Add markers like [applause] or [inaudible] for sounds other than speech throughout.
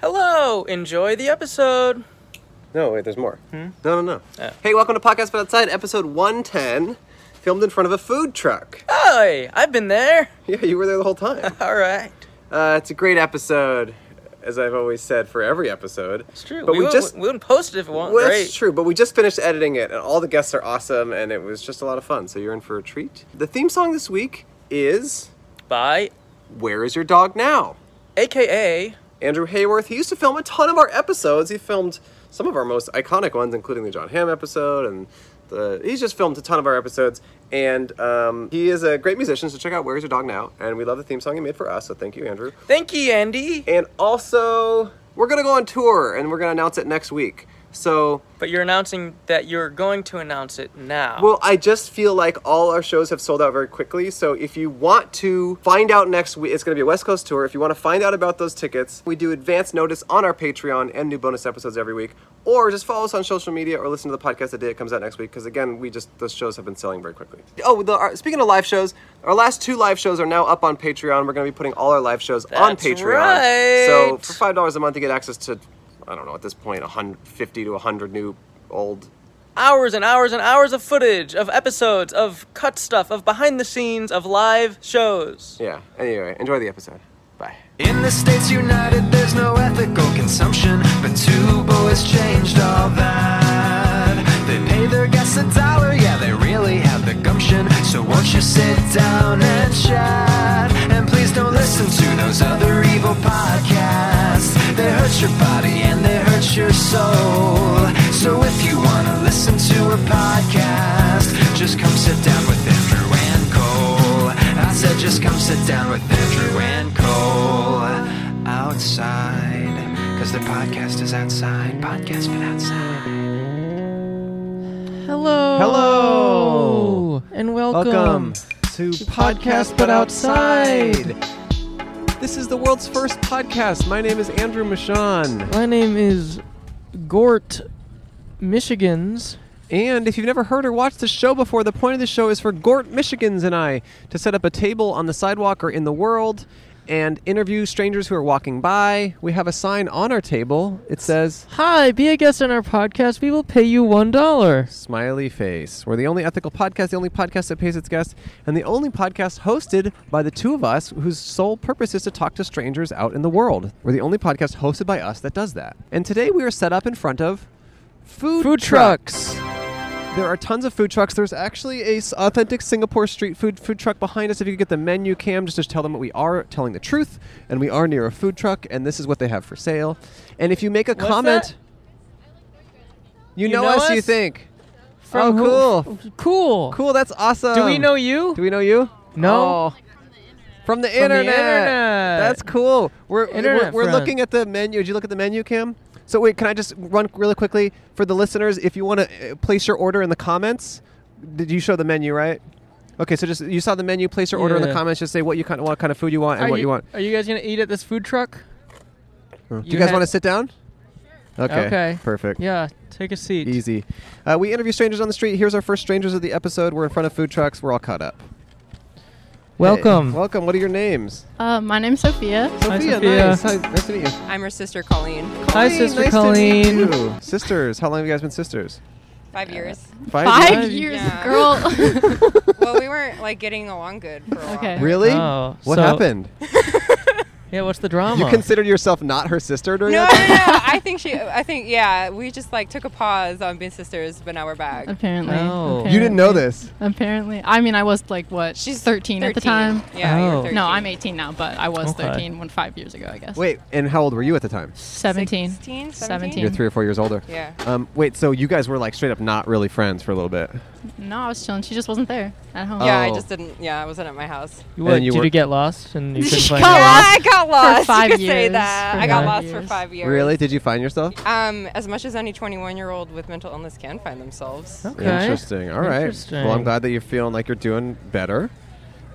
Hello, enjoy the episode. No, wait, there's more. No, no, no. Oh. Hey, welcome to Podcast But Outside, episode 110, filmed in front of a food truck. Hi, I've been there. [laughs] Yeah, you were there the whole time. [laughs] All right. uh, it's a great episode, as I've always said for every episode. It's true. But we, wouldn't- just. we wouldn't post it if it wasn't well, great. that's true, but we just finished editing it, and all the guests are awesome, and it was just a lot of fun, so you're in for a treat. The theme song this week is By Where Is Your Dog Now? AKA Andrew Hayworth. He used to film a ton of our episodes. He filmed some of our most iconic ones, including the John Hamm episode, and the, he's just filmed a ton of our episodes. And um, he is a great musician, so check out Where's Your Dog Now? And we love the theme song he made for us, so thank you, Andrew. Thank you, Andy. And also, we're gonna go on tour, and we're gonna announce it next week. So, But you're announcing that you're going to announce it now. well, I just feel like all our shows have sold out very quickly. So, if you want to find out next week, it's going to be a West Coast tour. If you want to find out about those tickets, we do advance notice on our Patreon and new bonus episodes every week. Or just follow us on social media or listen to the podcast the day it comes out next week. Because again, we just those shows have been selling very quickly. Oh, the, our, speaking of live shows, our last two live shows are now up on Patreon. We're going to be putting all our live shows on That's Patreon. right. So for five dollars a month, you get access to, I don't know, at this point, 150 to 100 new, old hours and hours and hours of footage, of episodes, of cut stuff, of behind the scenes, of live shows. Yeah. Anyway, enjoy the episode. Bye. In the States United, there's no ethical consumption, but two boys changed all that. They pay their guests a dollar, yeah, they really have the gumption. So won't you sit down and chat? And please don't listen to those other evil podcasts. They hurt your body and they hurt your soul. So if you wanna listen to a podcast, just come sit down with Andrew and Cole. I said, just come sit down with Andrew and Cole outside. Because their podcast is outside. Podcast, but outside. Hello. Hello. And Welcome to Podcast But Outside. This is the world's first podcast. My name is Andrew Michon. My name is Gort Michigan's. And if you've never heard or watched the show before, the point of the show is for Gort Michigans and I to set up a table on the sidewalk or in the world and interview strangers who are walking by. We have a sign on our table. It says Hi, be a guest on our podcast. We will pay you one dollar. Smiley Face. We're the only ethical podcast, the only podcast that pays its guests, and the only podcast hosted by the two of us whose sole purpose is to talk to strangers out in the world. We're the only podcast hosted by us that does that. And today we are set up in front of food, Food trucks. There are tons of food trucks. There's actually a s- authentic Singapore street food food truck behind us. If you could get the menu cam, just to tell them what we are telling the truth, and we are near a food truck, and this is what they have for sale. And if you make a What's comment, that? you, know, us, You think? From who- oh, cool, Cool. cool. That's awesome. Do we know you? Do we know you? No. Oh. From the the internet. internet. That's cool. We're Internet we're, we're friend. looking at the menu. Did you look at the menu, Kim? So wait, can I just run really quickly for the listeners? If you want to place your order in the comments, did you show the menu right? Okay, so just you saw the menu. Place your order in Yeah. the comments. Just say what you kind of what kind of food you want and are what you, want. Are you guys gonna eat at this food truck? Do you, you guys had- want to sit down? Okay. Okay. Perfect. Yeah. Take a seat. Easy. Uh, we interview strangers on the street. Here's our first strangers of the episode. We're in front of food trucks. We're all caught up. Welcome. Hey, welcome. What are your names? Uh, my name's Sophia. Hi, Sophia, Sophia. nice. Hi, nice to meet you. I'm her sister, Colleen. Hi, Hey, sister nice to meet Colleen. you. Sisters, how long have you guys been sisters? Five years. Five years, Yeah. girl. [laughs] well, we weren't like getting along good for a while. Okay. Really? Oh, what so- happened? [laughs] Yeah. What's the drama? You considered yourself not her sister No, during no, [laughs] no. that time? I think she. I think yeah. We just like took a pause on being sisters, but now we're back. apparently, Oh. apparently. You didn't know this. Apparently, I mean, I was like what? She's 13, at the time. Yeah. you Oh. were 13. No, I'm 18 now, but I was Okay. 13 when five years ago, I guess. Wait, and how old were you at the time? 17. 16, 17. You're three or four years older. Yeah. Um, wait, so you guys were like straight up not really friends for a little bit. No, I was chilling. She just wasn't there at home. Yeah, I Oh. just didn't. Yeah, I wasn't at [laughs] my house. You what, And you did were- you get lost and you [laughs] couldn't She find got out? lost. I got lost. five you could say years. that. For I got five lost for years. five years. Really? Did you find yourself? Um, as much as any 21-year-old with mental illness can find themselves. Okay. Interesting. All right. Well, Interesting. I'm glad that you're feeling like you're doing better.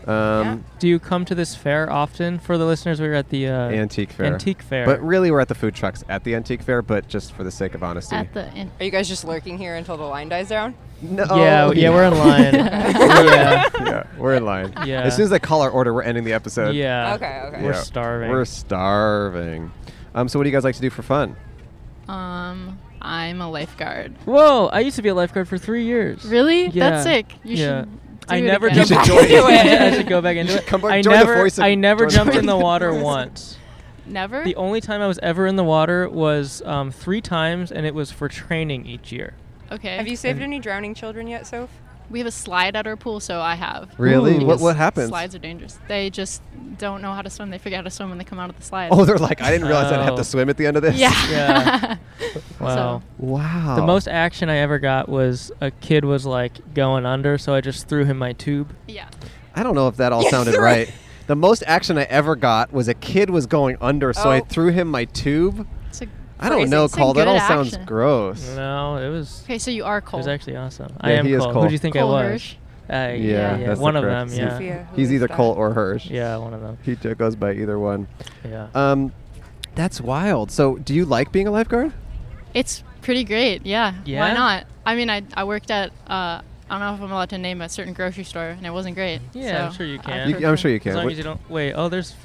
Um, Do you come to this fair often? For the listeners, we were at the uh, Antique fair. Antique fair. But really, we're at the food trucks at the antique fair, but just for the sake of honesty. At the end. Are you guys just lurking here until the line dies down? no. yeah, yeah, we're in [laughs] [laughs] line. yeah, Oh, yeah, we're in line. Yeah. As soon as they call our order, we're ending the episode. yeah. Okay, okay. We're Yeah. starving. We're starving. Um, so what do you guys like to do for fun? Um, I'm a lifeguard. Whoa! I used to be a lifeguard for three years. Really? Yeah. That's sick. You Yeah. should. do I it never again. You should jumped join into [laughs] it. [laughs] it. I should go back into You it. should come back- I join the never, voice and I never join the jumped in voice. [laughs] the [laughs] water once. Never. The only time I was ever in the water was um, three times, and it was for training each year. okay. Have you saved any drowning children yet, Soph? We have a slide at our pool, so I have. Really? Because What- what happens? Slides are dangerous. They just don't know how to swim. They figure out how to swim when they come out of the slide. Oh, they're like, I didn't realize I'd have to Oh. swim at the end of this. yeah. Yeah. Wow. Wow. The most action I ever got was a kid was like going under, so I just threw him my tube. yeah. I don't know if that all [laughs] sounded sir. right. The most action I ever got was a kid was going under, so I Oh. threw him my tube. It's a- I don't Phrasing. know, It's a Cole. That good all sounds action. Mm. gross. No, it was [laughs] Okay, so you are it cold. was actually awesome. I Yeah, am he is Cole. Cole. Who do you think Cole I was? Hirsch. Uh, yeah, Yeah, yeah, that's the one of correct them. Yeah, Sophia, who He's is either that? Cole or Hirsch. yeah, one of them. He j- goes by either one. Yeah. Um, that's wild. So, do you like being a lifeguard? It's pretty great. Yeah. Yeah? Why not? I mean, I, I worked at, uh, I don't know if I'm allowed to name a certain grocery store, and it wasn't great. Yeah, I'm so uh, sure you I can. You, prefer- I'm sure you as can. long What- as you don't wait. Oh, there's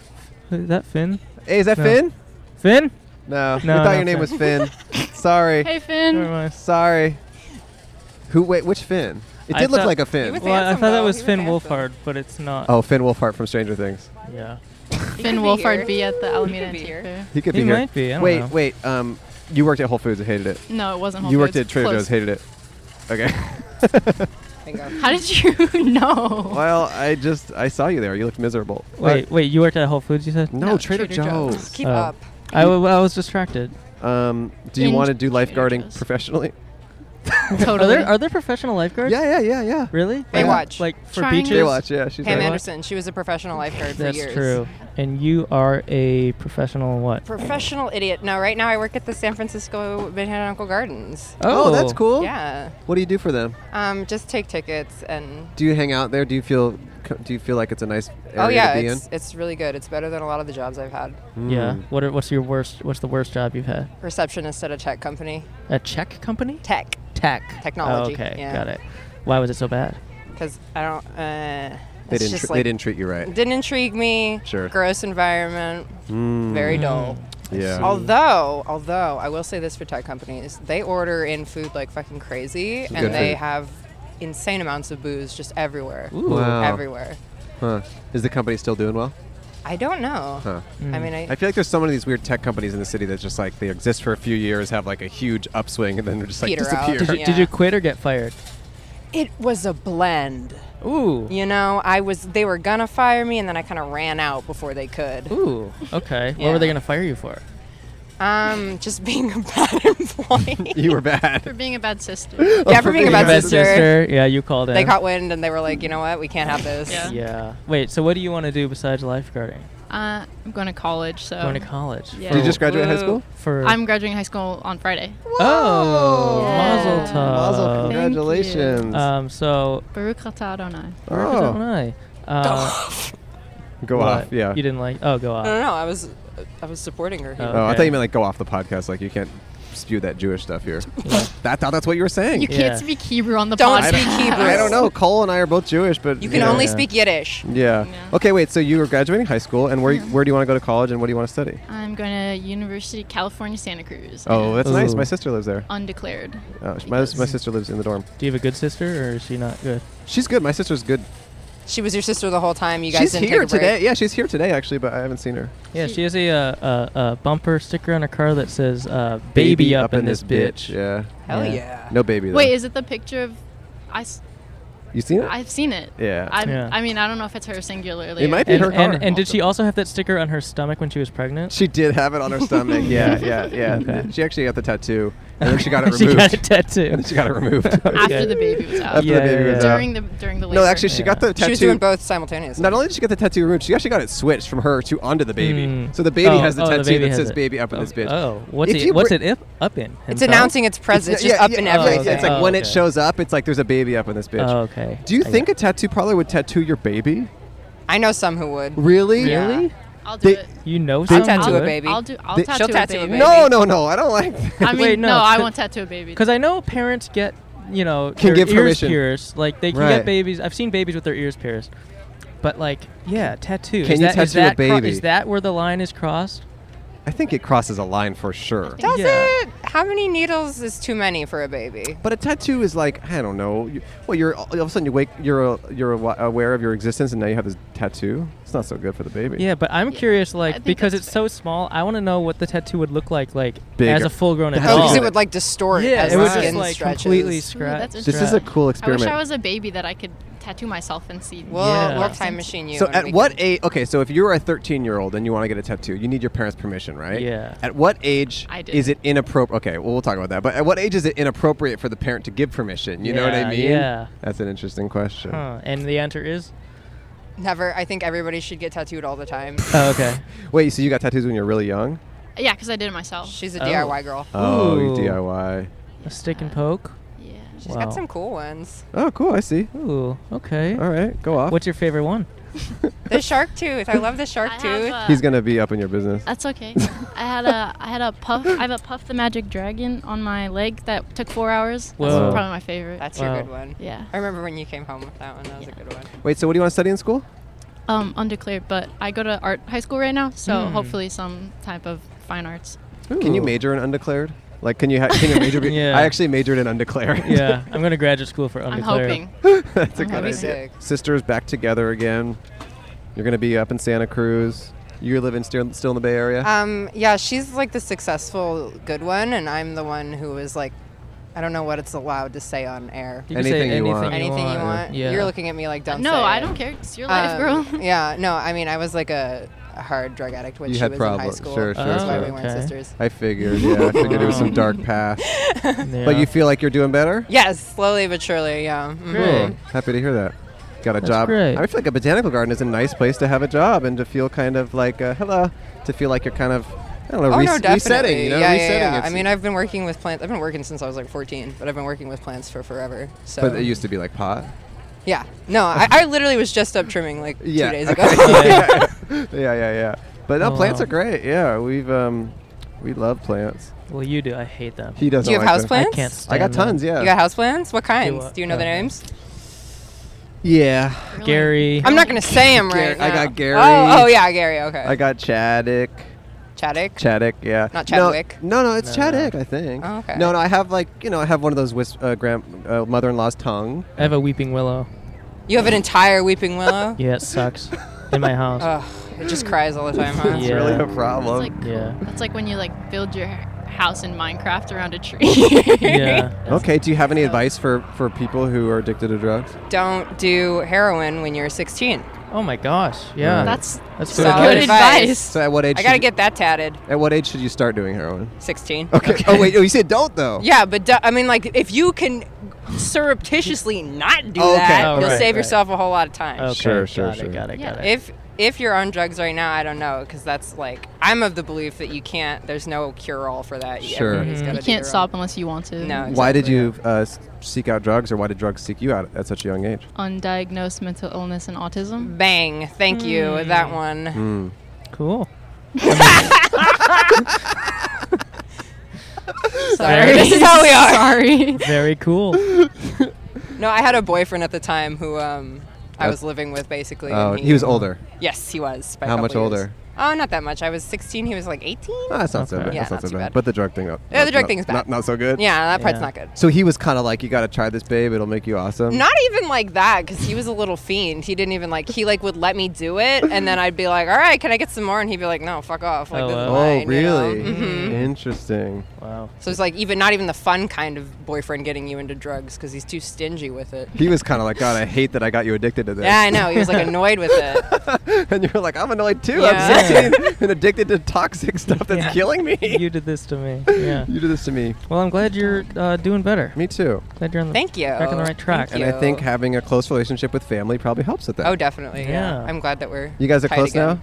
is that Finn? Hey, is that No. Finn? Finn? [laughs] No, we No, thought no, your name Finn. was Finn. [laughs] Sorry, Hey, Finn. Never mind. sorry. Who? Wait, which Finn? It I did look thought- like a He Finn. was Well, I handsome, thought though. that was He was Finn handsome. Wolfhard, but it's not. Oh, Finn Wolfhard from Stranger Things. yeah. Finn be Wolfhard here. be at the Alameda could be Antique here. Fair. He could He be here. might be, I don't wait, know. wait. Um, you worked at Whole Foods and hated it. No, it wasn't Whole you worked at Foods. Trader Close. Joe's, hated it. Okay. [laughs] How did you [laughs] know? well, I just I saw you there. You looked miserable. Wait, wait. You worked at Whole Foods, you said? no, No, Trader, Trader Joe's. Joe's. Keep Oh. up. I, [laughs] w- I was distracted. Um, do you In want to do Trader lifeguarding Joe's. professionally? Are Totally. there are there professional lifeguards? Yeah, yeah, yeah, yeah. Really? Baywatch. Like, like for Trying beaches? Cheers. Baywatch, yeah, she's Pam right. Anderson, she was a professional lifeguard for That's years. true. And you are a professional what? Professional idiot. No, right now I work at the San Francisco Manhattan Uncle Gardens. Oh, that's cool. Yeah. What do you do for them? Um, just take tickets and. Do you hang out there? Do you feel co- do you feel like it's a nice area Oh yeah, to be in? it's, it's really good. It's better than a lot of the jobs I've had. Yeah. Mm. What are, what's your worst? What's the worst job you've had? Receptionist at a tech company. A check company? Tech. Tech. Technology, Oh, okay, yeah. got it. Why was it so bad? Because I don't. Uh, They it's didn't just tr- like- they didn't treat you right. Didn't intrigue me. Sure. Gross environment. Mm, Very dull. Mm. yeah. Although, although I will say this for tech companies, they order in food like fucking crazy, and good they food. have insane amounts of booze just everywhere, Ooh. Wow. everywhere. Huh. Is the company still doing well? I don't know. Huh. I mean, I, Mm. I feel like there's so many of these weird tech companies in the city that just like they exist for a few years, have like a huge upswing, and then just like Peter out. disappear. Did you, Yeah. did you quit or get fired? it was a blend. Ooh. You know, I was they were gonna fire me, and then I kind of ran out before they could. Ooh. Okay. What were Yeah. they gonna fire you for? Um, just being a bad employee. [laughs] You were bad. for being a bad sister. [laughs] yeah, for being a bad Bad sister. Yeah, you called in. They caught wind, and they were like, you know what, we can't have this. Yeah. Yeah. Wait. So what do you want to do besides lifeguarding? Uh, I'm going to college, so Going to college. Yeah. Did you just graduate high Woo. school? For I'm graduating high school on Friday. oh, Yeah. mazel Mazel, tov. Thank you. congratulations. Um. So. Baruch atah Adonai. Where don't oh, I? Uh, [laughs] go what? off. Yeah. You didn't like. Oh, go No, off. no, no. I was, I was supporting her. Oh. Oh, I Okay. thought you meant like go off the podcast. Like you can't spew that Jewish stuff [laughs] here. I thought that's what you were saying. You Yeah. can't speak Hebrew on the Don't podcast. speak Hebrew. I don't know. Cole and I are both Jewish, but You can know. only Yeah. speak Yiddish. Yeah. Yeah. Okay, wait. So you were graduating high school, and where where do you want to go to college, and what do you want to study? I'm going to University of California, Santa Cruz. Oh, that's nice. Ooh. My sister lives there. Undeclared. Uh, sh- my, Because- my sister lives in the dorm. Do you have a good sister, or is she not good? She's good. My sister's good. She was your sister the whole time. You guys she's didn't here take a break. today. Yeah, she's here today actually, but I haven't seen her. Yeah, she has a, uh, uh, uh, bumper sticker on her car that says uh, "Baby, up, in this bitch." Yeah. Hell Yeah. yeah. No baby. Though. Wait, is it the picture of. I, s- you seen it? I've seen it. yeah. I've, Yeah. I mean, I don't know if it's her singularly. It might be And, her car. and, and did she also have that sticker on her stomach when she was pregnant? she did have it on her [laughs] stomach. yeah, yeah, yeah. [laughs] Okay. She actually got the tattoo, and then she got it removed. [laughs] she got a tattoo. and then [laughs] she got it removed. [laughs] After Okay. the baby was out. After Yeah, the baby yeah, was yeah. out. During the during the labor. No, actually, she got Yeah. the tattoo. She was doing both simultaneously. Not only did she get the tattoo removed, she actually got it switched from her to onto the baby. Mm. So the baby Oh, has the oh, tattoo baby that has says it. "baby up in oh, this bitch." Oh, what's If it? you What's bring- it up, up in? it's himself? announcing its presence. yeah, just up yeah, in yeah, yeah, everything. It's like Oh, when it okay. shows up, it's like there's a baby up in this bitch. Oh, okay. Do you I think got a tattoo parlor would tattoo your baby? I know some who would. Really? Yeah. Really? I'll do They- it. You know I'll someone tattoo a would? baby. I'll do. I'll They- tattoo, She'll a tattoo a baby. baby. No, no, no. I don't like. That. I mean, Wait, no, no, I could- won't tattoo a baby. Because I know parents get, you know, Can their give ears permission. pierced. Like they can Right. get babies. I've seen babies with their ears pierced. But like, yeah, tattoo. Can is you that, is tattoo a that cro- baby? is that where the line is crossed? I think it crosses a line for sure. Does Yeah. it? How many needles is too many for a baby? But a tattoo is like I don't know. You, well, you're all all of a sudden you wake you're uh, you're awa- aware of your existence, and now you have this tattoo. It's not so good for the baby. Yeah, but I'm curious, like, think because that's it's so small, I want to know what the tattoo would look like, like, Bigger. as a full-grown That's Oh, adult. because Oh. it would like distort yeah, as it the would skin just like stretches. completely Ooh, scratch. that's This is a cool I wish experiment. I was a baby that I could tattoo myself and see. We'll, Yeah. we'll time machine you. so and at we what can- age? Okay, so if you're a 13 year old and you want to get a tattoo, you need your parents' permission, right? Yeah. At what age I did. is it inappropriate? Okay, well we'll talk about that. But at what age is it inappropriate for the parent to give permission? You know what I Yeah, mean? yeah. That's an interesting question. [laughs] Huh. And the answer is, Never. I think everybody should get tattooed all the time. oh, okay. Wait, so you got tattoos when you were really young? Yeah, because I did it myself. She's a Oh. DIY girl. Oh, you Ooh. DIY. A stick and poke. yeah. She's wow. got some cool ones. Oh, cool. I see. Ooh, okay. All right, go off. What's your [laughs] favorite one? The shark tooth. I love the shark I tooth. have, uh, He's gonna be up in your business. That's [laughs] okay. I had a I had a puff. I have a puff the magic dragon on my leg that took four hours. Whoa. That's probably my favorite. That's Wow. your good one. yeah. I remember when you came home with that one. That was a good one. Wait, so what do you want to study in school? Um, undeclared, but I go to art high school right now, so Hmm. hopefully some type of fine arts. Can you Ooh. major in undeclared? Like, can you ha- can you [laughs] major? Be- Yeah. I actually majored in undeclared. [laughs] [laughs] yeah, I'm going to graduate school for I'm undeclared. hoping. [laughs] that's a I'm good idea. hoping. That'd be sick. Sisters back together again. You're gonna be up in Santa Cruz. You live in still, still in the Bay Area. Um, yeah, she's like the successful good one, and I'm the one who was like, I don't know what it's allowed to say on air. You can say Anything you anything want. Anything you want. Yeah. You're looking at me like don't. No, say I it. don't care. It's your life, Um, girl. [laughs] yeah, no, I mean, I was like a, a hard drug addict when You she had was in high problems. school. Sure, sure, That's why sure. we weren't Okay. sisters. I figured. Yeah, I figured it was some Wow. [laughs] dark path. Yeah. But you feel like you're doing better. Yes, slowly but surely. Yeah. Mhm. Great. Happy to hear that. Got a That's job. great. I feel like a botanical garden is a nice place to have a job and to feel kind of like uh, hello, to feel like you're kind of I don't know Oh res- no, definitely. resetting. You know, yeah, resetting. yeah, yeah. I It's- mean, I've been working with plants. I've been working since I was like 14, but I've been working with plants for forever. So. but it used to be like pot. yeah. No, I, I literally was just up trimming like Yeah, two [laughs] days okay. ago. [laughs] yeah, yeah, yeah. But no, Oh, plants wow. are great. Yeah, we've um, we love plants. Well, you do. I hate them. He doesn't. Do you have like house them. I plants? can't I stand got them. tons. Yeah. You got houseplants? What kinds? what- Do you know their uh, names? yeah. Really. Gary. I'm not gonna say them Gary- right I now. got Gary. Oh, oh yeah, Gary. Okay. I got Chaddick. Chaddick. Chaddick. Yeah. Not No, Chadwick. No, no, it's No, no. Chaddick. I think. Oh, okay. No, no, I have like you know I have one of those wisp, uh, grand uh, mother-in-law's tongue. I have a weeping willow. You have an entire weeping willow. Yeah, it sucks. In my house. [laughs] Ugh, it just cries all the time, [laughs] huh? It's Yeah. really a That's problem. like Yeah. that's like when you like build your house in Minecraft around a tree. [laughs] [laughs] yeah. okay. Do you have any advice for for people who are addicted to drugs? Don't do heroin when you're 16. Oh my gosh. Yeah. That's that's so good. Solid good advice. advice. advice. So at what age? I gotta should you- get that tatted. At what age should you start doing heroin? 16. Okay. Oh wait. Oh, you said don't though. Yeah, but do, I mean, like, if you can surreptitiously not do Okay. that, Oh, you'll right, save right. yourself a whole lot of time. Okay, Sure, got sure, it, sure. Got it. Yeah. Got it. If if you're on drugs right now, I don't know, because that's like I'm of the belief that you can't. There's no cure all for that. Sure. Everybody's gotta You do can't their stop unless you want to. No. Why did Exactly, you uh, s- seek out drugs, or why did drugs seek you out at such a young age? Undiagnosed mental illness and autism. own. Bang! Thank you. Hmm. That one. Hmm. Cool. [laughs] Sorry. Sorry. this is how [laughs] we are. Sorry. [laughs] Very cool. [laughs] No, I had a boyfriend at the time who um, I was living with basically. Oh, and he was older. Yes, he was. by a How couple much years. older? Oh, not that much. I was 16. He was like 18. Oh, that's not so Okay. bad. Yeah, that's not, so bad. bad. But the drug thing, up. Yeah, the drug thing's bad. Not, not so good. Yeah, that part's Yeah. not good. So he was kind of like, you got to try this, babe. It'll make you awesome. Not even like that, because he was a little fiend. He didn't even like. He like would let me do it, and then I'd be like, "All right, can I get some more?" And he'd be like, "No, fuck off." Like, Oh, this is wow. oh, mine," you know? Mm-hmm. really? Interesting. Wow. So it's like even not even the fun kind of boyfriend getting you into drugs because he's too stingy with it. He was kind of like, God, I hate that I got you addicted to this. Yeah, I know. He was [laughs] like annoyed with it. and you're like, I'm annoyed too. Yeah. I'm 16 and [laughs] addicted to toxic stuff that's Yeah. killing me. You did this to me. Yeah. [laughs] You did this to me. Well, I'm glad you're uh, doing better. Me too. Glad you're on the Thank you. back on the right track. Thank And I Yo. think having a close relationship with family probably helps with that. Oh, definitely. Yeah. Yeah. I'm glad that we're. you guys are tight close again. now?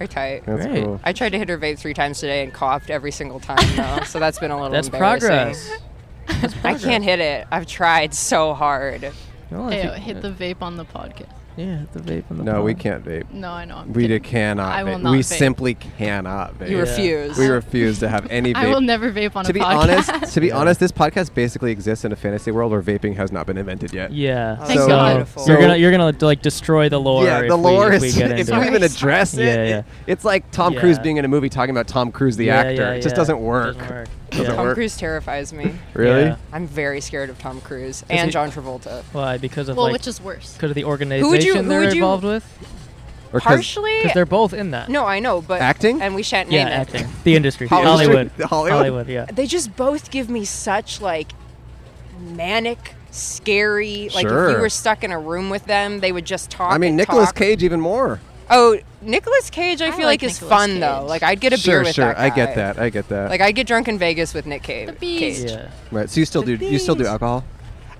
We're tight. That's Great. cool. I tried to hit her vape three times today and coughed every single time though, so that's been a [laughs] little. That's embarrassing. progress. I can't hit it. I've tried so hard. Well, I Ew, think- hit the vape on the podcast. Yeah, the vape and the No, we pod. can't vape. No, I know. I'm We kidding. d- cannot. I will vape. not we vape. simply cannot vape. You Yeah. refuse. We refuse to have any vape. [laughs] I will never vape on to a be podcast. honest, to be Yeah. honest, this podcast basically exists in a fantasy world where vaping has not been invented yet. Yeah. Oh, Thank so God. Beautiful. you're So- gonna you're gonna like destroy the lore. yeah, if the we- lore if is we get [laughs] if into we it. even address it, Yeah, yeah. it- it's like Tom Cruise Yeah. being in a movie talking about Tom Cruise the Yeah, actor. yeah, It just yeah. doesn't work. Doesn't work. Doesn't Yeah. work. Tom Cruise terrifies me. [laughs] Really? Yeah. I'm very scared of Tom Cruise and he- John Travolta. Why? Because of well, like which is worse? because of the organization would you- who they're would you- involved with. Or 'cause Partially. Because they're both in that. No, I know, but Acting? and we shan't Yeah, name acting. it. The industry. Hollywood. Hollywood. The Hollywood? Yeah. They just both give me such like manic, scary. Like if Sure. you were stuck in a room with them, they would just talk. I mean, and Nicolas talk. Cage even more. Oh, Nicolas Cage, I, feel like like, is Nicolas fun Cage. though. Like I'd get a sure, beer with sure. that I get guy. that. I get that. Like I'd get drunk in Vegas with Nick Cage. bees. Cage. Yeah. right. So you still do you still do bees. alcohol?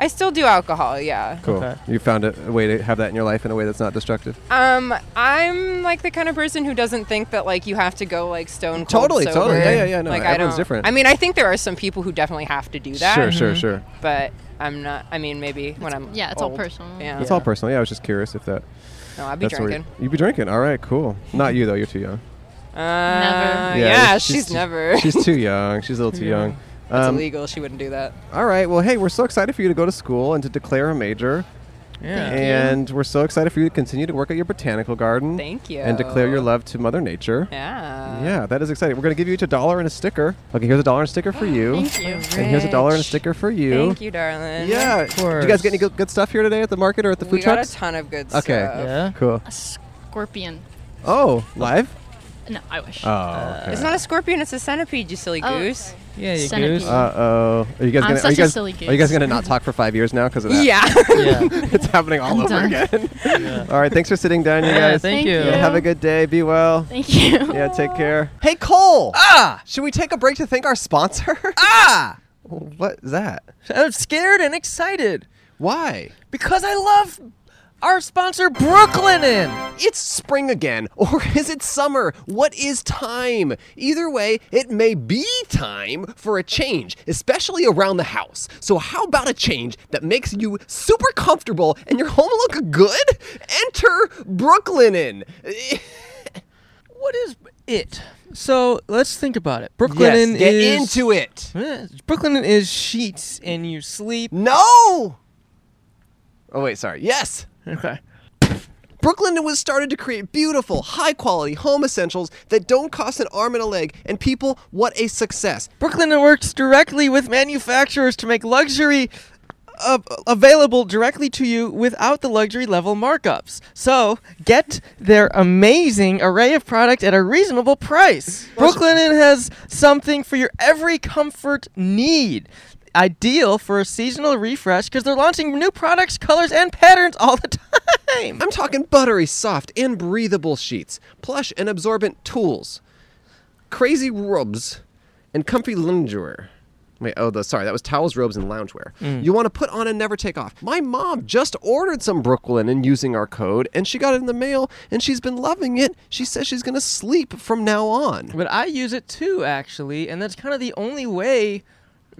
I still do alcohol. Yeah. Cool. Okay. You found a, a way to have that in your life in a way that's not destructive. Um, I'm like the kind of person who doesn't think that like you have to go like stone cold. Totally, sober. totally. Yeah, yeah, yeah, no, like everyone's I don't. different. I mean, I think there are some people who definitely have to do that. Sure, sure, sure. But I'm not. I mean, maybe when I'm. yeah, Mhm. it's all old. personal. Yeah. It's all personal. Yeah, I was just curious if that. No, I'd be that's where you- drinking. You'd be drinking. All right, cool. Not you though. You're too young. Uh, Never. Yeah, she's, too- never. She's too young. She's a little too young. [laughs] it's Um, illegal. She wouldn't do that. all right. Well, hey, we're so excited for you to go to school and to declare a major. Yeah. you. And we're so excited for you to continue to work at your botanical garden. Thank you. And declare your love to Mother Nature. Yeah. Yeah, that is exciting. We're going to give you each a dollar and a sticker. Okay, here's a dollar and a sticker for you. Thank you. And here's a dollar and a Rich. sticker for you. Thank you, darling. Yeah. Of Did you guys get any course. good, good stuff here today at the market or at the food we got a trucks? ton of good stuff. Okay. Yeah. Cool. A scorpion. Oh, live? No, I wish. Oh, okay. Uh, It's not a scorpion. It's a centipede. You silly Oh, goose. Yeah. You Centipede. goose. Uh oh. Are you guys I'm gonna? are such you a guys, silly goose. Are you guys gonna not talk for five years now because of that? Yeah. yeah. [laughs] it's happening all I'm over done. again. Yeah. all right. Thanks for sitting down, you Yeah, guys. Thank Thank you. you. Have a good day. Be well. Thank you. Yeah, take care. Hey, Cole. Ah. Should we take a break to thank our sponsor? [laughs] Ah. What's that? I'm scared and excited Why? because I love our sponsor Brooklinen. It's spring again, [laughs] or is it summer? What is time? Either way, it may be time for a change, especially around the house. So, how about a change that makes you super comfortable and your home look good? Enter Brooklinen. What is it? So let's think about it. Brooklinen Yes, get is into it. Eh, Brooklinen is sheets and you sleep. No! Oh, wait, sorry. Yes! Okay. Brooklinen was started to create beautiful, high quality home essentials that don't cost an arm and a leg, and people, what a success! Brooklinen works directly with manufacturers to make luxury uh, available directly to you without the luxury level markups. So get their amazing array of product at a reasonable price. Brooklinen has something for your every comfort need. Ideal for a seasonal refresh because they're launching new products, colors, and patterns all the [laughs] time. I'm talking buttery, soft, and breathable sheets, plush and absorbent tools, crazy robes, and comfy loungewear. Wait, oh, the, sorry, that was towels, robes, and loungewear. Mm. You want to put on and never take off. My mom just ordered some Brooklyn and using our code, and she got it in the mail, and she's been loving it. She says she's going to sleep from now on. But I use it too, actually, and that's kind of the only way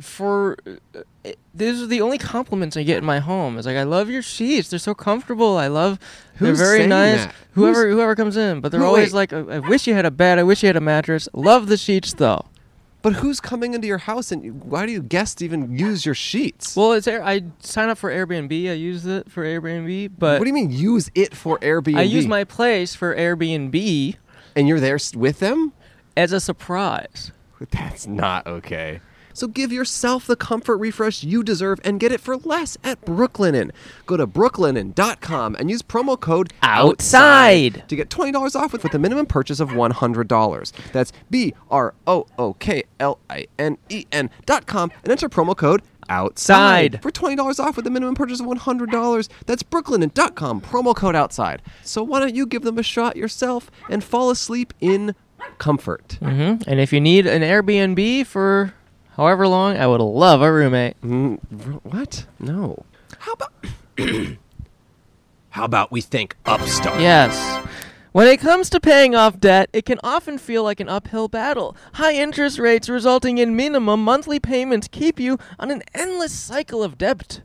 for. uh, It, these are the only compliments I get in my home. It's like I love your sheets; they're so comfortable. I love. Who's they're very saying nice. that? Whoever Who's- whoever comes in, but they're Who- always wait. like, "Oh, I, "I wish you had a bed. I wish you had a mattress." Love the sheets, though. But who's coming into your house, and why do you guests even use your sheets? Well, it's Air- I sign up for Airbnb. I use it for Airbnb, but what do you mean use it for Airbnb? I use my place for Airbnb and you're there s- with them. as a surprise. That's not okay. So give yourself the comfort refresh you deserve and get it for less at Brooklinen. Go to brooklinen.com and use promo code Outside. to get $20 off with, with a minimum purchase of $100. That's B R O O K L I N E N.com and enter promo code outside Side. for $20 off with a minimum purchase of $100. That's brooklinen.com promo code outside. So why don't you give them a shot yourself and fall asleep in comfort? Mm-hmm. And if you need an Airbnb for however long, I would love a roommate. Mm, What? No. How about How about we think Upstart? Yes. When it comes to paying off debt, it can often feel like an uphill battle. High interest rates resulting in minimum monthly payments keep you on an endless cycle of debt.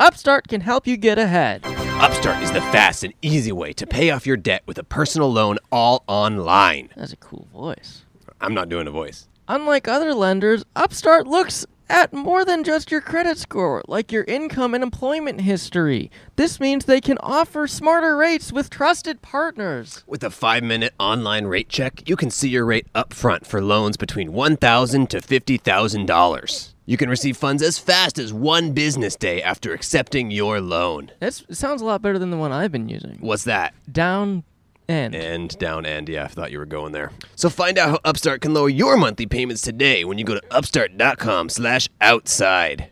Upstart can help you get ahead. Upstart is the fast and easy way to pay off your debt with a personal loan all online. That's a cool voice. I'm not doing a voice. Unlike other lenders, Upstart looks at more than just your credit score, like your income and employment history. This means they can offer smarter rates with trusted partners. With a five minute online rate check, you can see your rate up front for loans between $1,000 to $50,000. You can receive funds as fast as one business day after accepting your loan. That's, it sounds a lot better than the one I've been using. What's that? Down end. End, down, end. Yeah, I thought you were going there. So find out how Upstart can lower your monthly payments today when you go to upstart.com slash outside.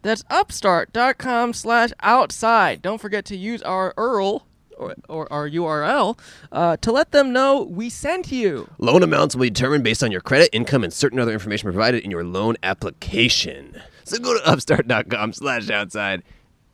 That's upstart.com slash outside. Don't forget to use our URL or, or our URL uh, to let them know we sent you. Loan amounts will be determined based on your credit, income, and certain other information provided in your loan application. So go to upstart.com slash outside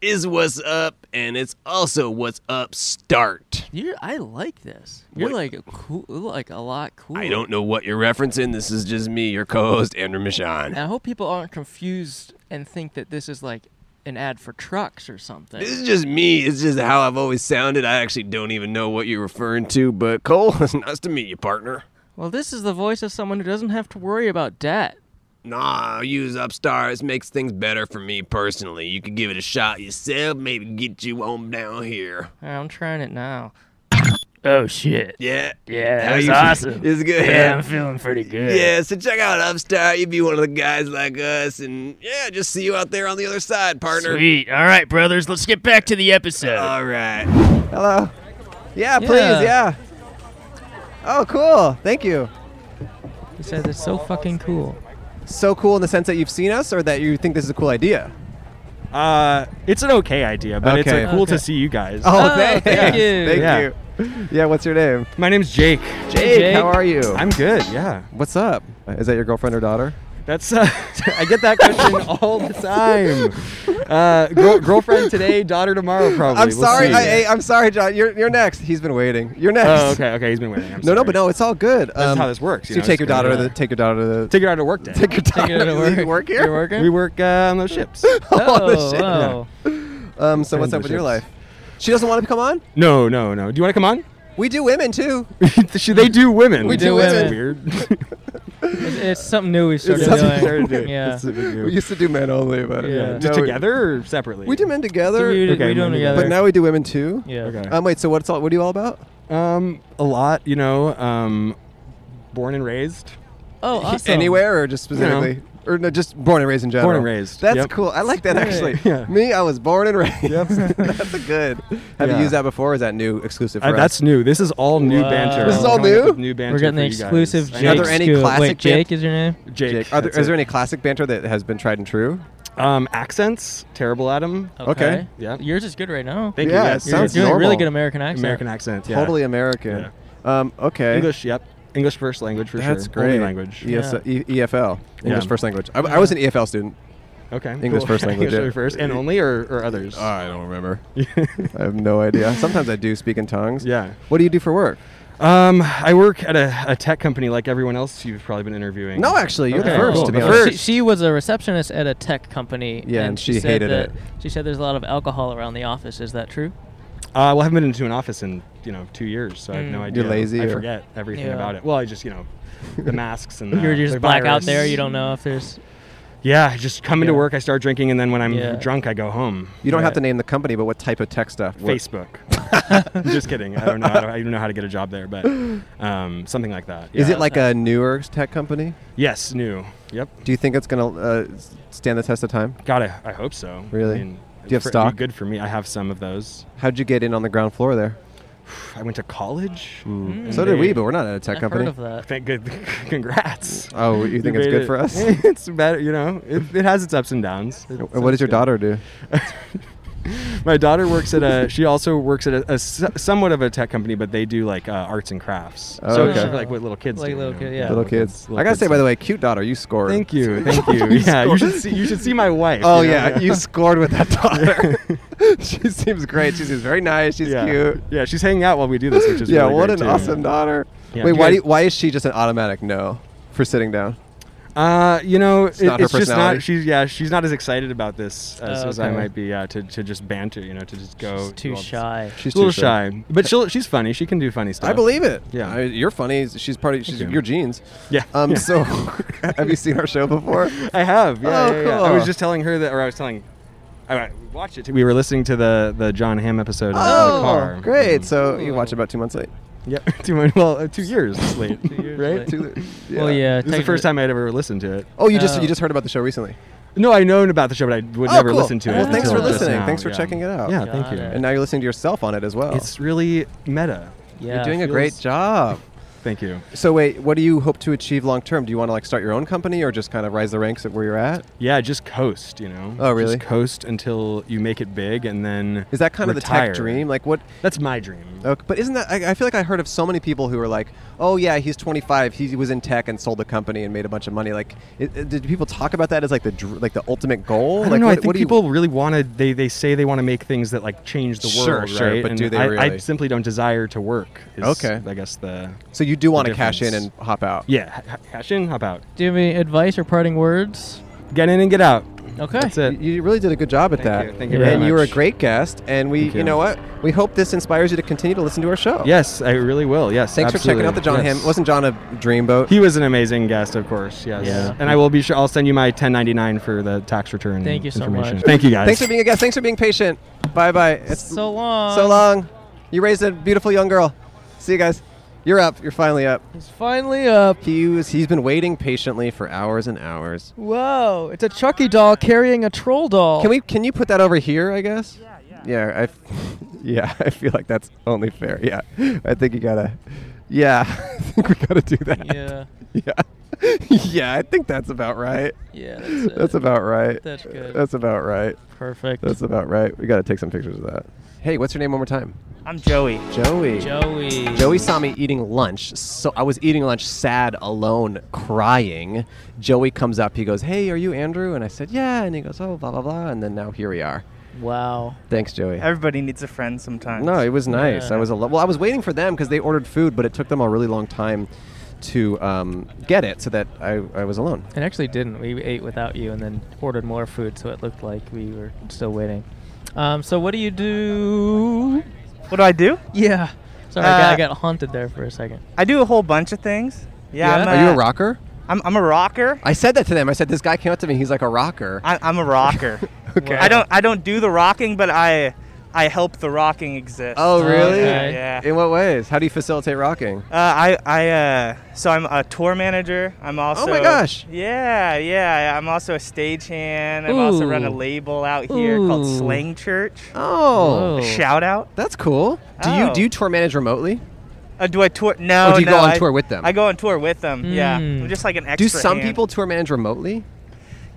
is what's up, and it's also what's upstart. You, I like this. You're What- like a cool, like a lot cooler. I don't know what you're referencing. This is just me, your co-host, Andrew Michon. And I hope people aren't confused and think that this is like an ad for trucks or something. This is just me. It's just how I've always sounded. I actually don't even know what you're referring to, but Cole, [laughs] it's nice to meet you, partner. Well, this is the voice of someone who doesn't have to worry about debt. Nah, use Upstart. It makes things better for me personally. You could give it a shot yourself, maybe get you on down here. All right, I'm trying it now. Oh shit. Yeah. Yeah, How that's you feel? awesome. It's good. Yeah, I'm feeling pretty good. Yeah, so check out Upstart. You'd be one of the guys like us, and yeah, just see you out there on the other side, partner. Sweet. All right, brothers, let's get back to the episode. All right. Hello. Yeah, please. Yeah. Yeah. Oh, cool. Thank you. he says it's so fucking cool. So cool in the sense that you've seen us or that you think this is a cool idea. Uh, it's an okay idea, but it's Okay. uh, cool Okay. to see you guys. Oh, Oh, thanks. [laughs] thank you. Thank Yeah. you. Yeah, what's your name? My name's Jake. Jake, Jake. how are you? I'm good. Yeah, what's up? Is that your girlfriend or daughter? that's. [laughs] Uh, I get that question all the time. Uh, girl, girlfriend today, daughter tomorrow, probably. I'm We'll sorry. see. I, I, am sorry, John. You're, you're next. He's been waiting. You're next. oh, okay. Okay, he's been waiting. I'm No, no, sorry. but no, it's all good. That's how this works, So you you know, take it's your daughter to gonna- the take your [laughs] daughter to the Take it out of work day. take your daughter out to of work. work. work You're here. working? We work uh, on [laughs] those ships. Oh, oh, shit. wow. Um, so what's up with your life? She doesn't want to come on. no, no, no. Do you want to come on? We do women too. [laughs] Should they do women? We do women. Weird. It's, it's something new we started something doing. we started doing. Yeah. We used to do men only, but Yeah. yeah. Just now we- together or separately? We do men together, we, Okay, we doing remember that. together. but now we do women too. yeah. Okay. Um, wait. So what's all? What are you all about? Um, a lot. You know, um, born and raised. [laughs] Oh, awesome. Anywhere or just specifically? Or no, just born and raised in general. Born and raised, That's yep. cool. I like that actually. [laughs] Yeah. Me, I was born and raised. [laughs] that's a good. Have you Yeah. used that before? Or is that new exclusive? For Uh, us? that's new. This is all new banter. This is I'm all coming up new? with New banter. We're getting the for you guys. exclusive I Jake. know. Are there any Scoop. classic Wait, Jake is your name? Jake. Jake, are there, that's is there it. any classic banter that has been tried and true? um, accents? Terrible at them. Okay. Yeah. Yours is good right now. Thank Yeah, you. it Yes. You're sounds doing a normal. really good American accent. American accent. Yeah. Totally American. Um, okay. English. Yep. English first language for That's sure. great. Only language. ES, E- EFL. English Yeah. first language. I, I was an EFL student. Okay. English cool. [laughs] first language, English yeah. first and only, or, or others. Uh, I don't remember. [laughs] I have no idea. Sometimes I do speak in tongues. Yeah. What do you do for work? Um, I work at a, a tech company like everyone else you've probably been interviewing. No, actually, you're the Okay, first cool. to be The honest. She, she was a receptionist at a tech company. Yeah, and she said hated that- it. She said there's a lot of alcohol around the office. Is that true? Uh, well, I haven't been into an office in you know two years, so I have Mm. no idea. You're lazy I or- forget everything Yeah. about it. Well, I just you know, the masks and the, [laughs] You're just the black out virus. there. You don't know if there's. Yeah, I just come into Yeah. work, I start drinking, and then when I'm Yeah. drunk, I go home. You don't have to Right. name the company, but what type of tech stuff? What- Facebook. [laughs] [laughs] just kidding. I don't know. I don't, I don't know how to get a job there, but um, something like that. Is yeah. it like a newer tech company? Yes, new. Yep. Do you think it's going to uh, s- stand the test of time? Got it. I hope so. Really? I mean, Do you have for- it'd be stock? Good for me. I have some of those. How'd you get in on the ground floor there? I went to college. and So did we, they- but we're not at a tech I've company. heard of that. Thank good. [laughs] Congrats. Oh, you think it's made good it. for us? [laughs] it's better, you know. It, it has its ups and downs. It- what does your it's good. daughter do? My daughter works at a. She also works at a, a s- somewhat of a tech company, but they do like uh, arts and crafts. Oh, so okay. she- like what little kids Like do. you little know. kid- yeah. Little Little kids. I gotta say, by the way, cute daughter, [laughs] you scored. Thank you, thank you. yeah, you should see. You should see my wife. Oh you know? [laughs] yeah, you scored with that daughter. [laughs] [laughs] she seems great. She seems very nice. She's yeah. cute. Yeah, she's hanging out while we do this, which is yeah, really what great, an too. awesome daughter. Yeah. Wait, Do you why do guys- you, why is she just an automatic no for sitting down? Uh, you know, it's, not her it's just personality. not. She's yeah, she's not as excited about this as, Oh, as I okay. might be. Yeah, to, to just banter, you know, to just go. do She's too all this- shy. She's a little too shy. shy. but she'll she's funny. She can do funny stuff. I believe it. Yeah. I- you're funny. She's part of she's you. your genes. [laughs] Yeah. Um. Yeah. So, [laughs] have you seen our show before? [laughs] I have. Yeah, Oh, yeah, yeah. I cool. was just telling her that, or I was telling. [laughs] I watched it. We were listening to the the John Hamm episode in Oh. the car. [laughs] great. So you watch about two months late, Yep. [laughs] two mon- well, uh, two years late. two years right. late. Two, Well, yeah. This is the first technically- time I'd ever listened to it. Oh, you just Oh. you just heard about the show recently, No, I known about the show, but I would Oh, never cool. listen to it. Well, thanks for until just listening. now. Thanks for Yeah. checking it out. Yeah, Got thank you. it. and now you're listening to yourself on it as well. It's really meta. Yeah, you're doing a feels- great job. Thank you. [laughs] So wait, what do you hope to achieve long term? Do you want to like start your own company or just kind of rise the ranks at where you're at? Yeah, just coast, you know. Oh, really? Just coast until you make it big, and then Is that kind of the tech retire. dream? Like what? That's my dream. Okay, but isn't that? I, I feel like I heard of so many people who were like, "Oh yeah, he's 25. He was in tech and sold the company and made a bunch of money." Like, it, it- did people talk about that as like the dr- like the ultimate goal? I don't like, know. What, I think what do you- people really want to. They, they say they want to make things that like change the Sure, world, sure, right? but And do they I, I really? simply don't desire to work. Is, Okay. I guess the so you do want to the cash in and difference. hop out. yeah. ha- Cash in, hop out. Do you have any advice or parting words? Get in and get out. Okay. That's it. You you really did a good job at Thank that. you. Thank you Yeah. very and you were a much. great guest. And we, Thank you. you. know what? We hope this inspires you to continue to listen to our show. Yes, I really will. Yes. Thanks for checking absolutely. out the John Yes. Hamm. Wasn't John a dreamboat? He was an amazing guest, of course. Yes. Yeah. And I will be sure. I'll send you my 1099 for the tax return. Thank you so information. much. Thank you guys. Thanks for being a guest. Thanks for being patient. Bye bye. It's so long. so long. You raised a beautiful young girl. See you guys. You're up. You're finally up. It's finally up. He was, he's been waiting patiently for hours and hours. Whoa, it's a Chucky doll carrying a troll doll. Can we? Can you put that over here? I guess. Yeah. Yeah. I. f- [laughs] yeah. I feel like that's only fair. Yeah. I think you gotta. Yeah. [laughs] I think we gotta do that. Yeah. [laughs] Yeah. [laughs] yeah. I think that's about right. Yeah. That's, it. That's about right. That's good. That's about right. perfect. That's about right. We gotta take some pictures of that. Hey, what's your name one more time? I'm Joey. Joey. Joey. Joey saw me eating lunch, so I was eating lunch sad, alone, crying. Joey comes up, he goes, Hey, are you Andrew? And I said, Yeah. And he goes, Oh, blah, blah, blah. And then now here we are. Wow. Thanks, Joey. Everybody needs a friend sometimes. No, it was nice. I Yeah. was al- well. I was waiting for them because they ordered food, but it took them a really long time to um, get it, so that I, I was alone. It actually didn't. We ate without you and then ordered more food, so it looked like we were still waiting. Um, so what do you do? what do I do? Yeah. Sorry, I, got, I Uh, got haunted there for a second. I do a whole bunch of things. Yeah. Yeah? I'm Are you a rocker? I'm, I'm a rocker. I said that to them. I said this guy came up to me. He's like a rocker. I, I'm a rocker. Okay. I don't I don't do the rocking, but I I help the rocking exist. [laughs] oh, really? Okay. Yeah. In what ways? How do you facilitate rocking? Uh, I I uh, so I'm a tour manager. I'm also Oh my gosh. Yeah, yeah. I'm also a stagehand. I've also run a Ooh. label out here called Ooh. Slang Church. Oh, Whoa. Shout out. that's cool. Do you Oh. do you tour manage remotely? Uh, do I tour? No. Or Oh, do you no, go on I- tour with them? Hmm. I go on tour with them. Yeah. Mm. I'm just like an extra. do some hand. people tour manage remotely?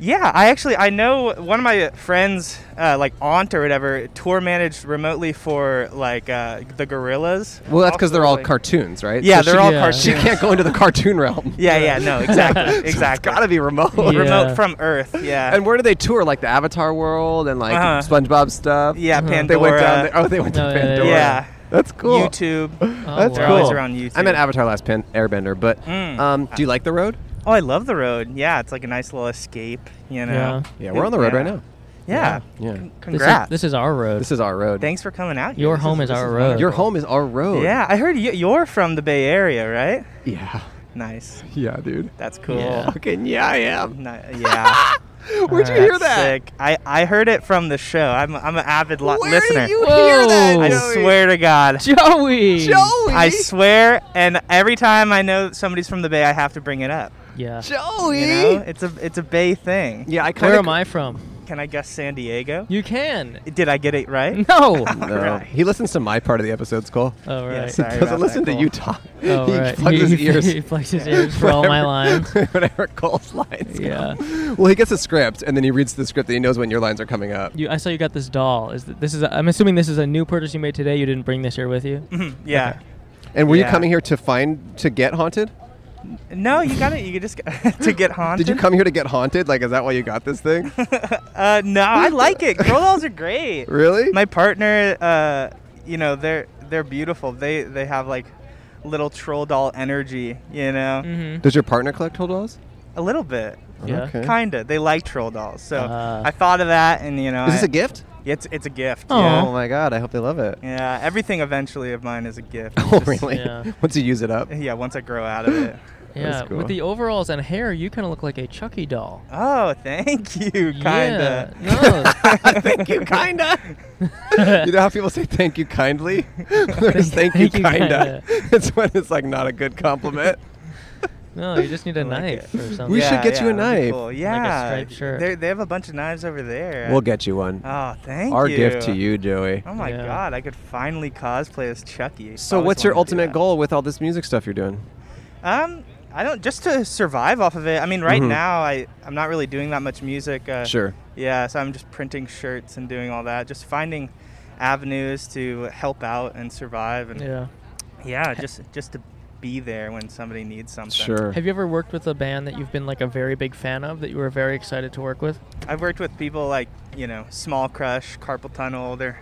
Yeah, I actually I know one of my friends, uh, like aunt or whatever, tour managed remotely for like uh, the Gorillas. Well, that's because they're all Like- cartoons, right? Yeah, So they're she, all Yeah. cartoons. She can't go into the cartoon realm. [laughs] Yeah, yeah, [laughs] no, exactly, exactly. Gotta be remote. Yeah. Remote from Earth. Yeah. And where do they tour? Like the Avatar world and like Uh-huh. SpongeBob stuff. yeah, Pandora. They went down. There. Oh, they went to Oh, yeah, Pandora. yeah, Yeah. That's cool. YouTube. Oh, [laughs] That's They're wow. always cool. around YouTube. I'm an Avatar Last Pan- Airbender, but Mm. um, do you like the road? Oh, I love the road. Yeah, it's like a nice little escape. You know. Yeah, we're on the road Yeah. right now. Yeah. Yeah. Con- This Congrats. is, this is our road. This is our road. Thanks for coming out. here. Your This home is, this our wonderful. road. Your home is our road. Yeah, I heard you, you're from the Bay Area, right? Yeah. Nice. Yeah, dude. That's cool. Yeah. Fucking yeah, I am. Ni- yeah. [laughs] Where'd you Alright. hear That's that? Sick. I, I heard it from the show. I'm, I'm an avid lo- Where listener. did you Whoa. hear that? I Joey? swear to God. Joey. Joey. I swear, and every time I know somebody's from the Bay, I have to bring it up. Yeah. Joey. You know, it's a it's a Bay thing. Yeah, I kind Where of. am I from? Can I guess San Diego? You can. Did I get it right? [laughs] [laughs] No. No. Right. He listens to my part of the episodes, Cole. Oh right. Yeah, He Sorry doesn't about listen that, to Cole. you talk. [laughs] Oh, he right. plugs He- his [laughs] he- ears. he plugs his ears for all my lines. [laughs] whatever Cole's lines. go. Yeah. Well, he gets a script and then he reads the script and he knows when your lines are coming up. You, I saw you got this doll. Is th- this is? A, I'm assuming this is a new purchase you made today. You didn't bring this here with you. yeah. And were you Yeah. coming here to find to get haunted? No, you got it. You could just [laughs] to get haunted. Did you come here to get haunted? Like, is that why you got this thing? Uh, no, I like it. Girl dolls are great. [laughs] really? My partner, uh, you know, they're they're beautiful. They they have like little troll doll energy. You know. Mm-hmm. Does your partner collect tool dolls? A little bit. Yeah. Okay. Kinda. They like troll dolls. So Ah. I thought of that and you know Is this I- a gift? It's it's a gift. Oh Yeah. my god! I hope they love it. Yeah. Everything eventually of mine is a gift. [laughs] Oh Just- really? yeah. Once you use it up. Yeah, once I grow out of it. Yeah, cool. with the overalls and hair, you kind of look like a Chucky doll. Oh, thank you, kinda. [laughs] Yeah. No. [laughs] thank you, kinda. [laughs] you know how people say thank you kindly? There's thank you, Thank you, kinda. kinda. [laughs] it's when it's like not a good compliment. [laughs] no, you just need a like knife or something. We should get you a that'd knife. be Cool. a Yeah. striped shirt. They they have a bunch of knives over there. We'll get you one. Oh, thank Our you. gift to you, Joey. Oh my Yeah. god, I could finally cosplay as Chucky. I've So, always what's your wanted to do ultimate that. goal with all this music stuff you're doing? Um, I don't just to survive off of it. I mean, right Mhm. now I I'm not really doing that much music. Uh, Sure. Yeah, so I'm just printing shirts and doing all that, just finding avenues to help out and survive and yeah, yeah. just just to be there when somebody needs something. Sure. Have you ever worked with a band that you've been like a very big fan of that you were very excited to work with? I've worked with people like, you know, Small Crush, Carpal Tunnel, they're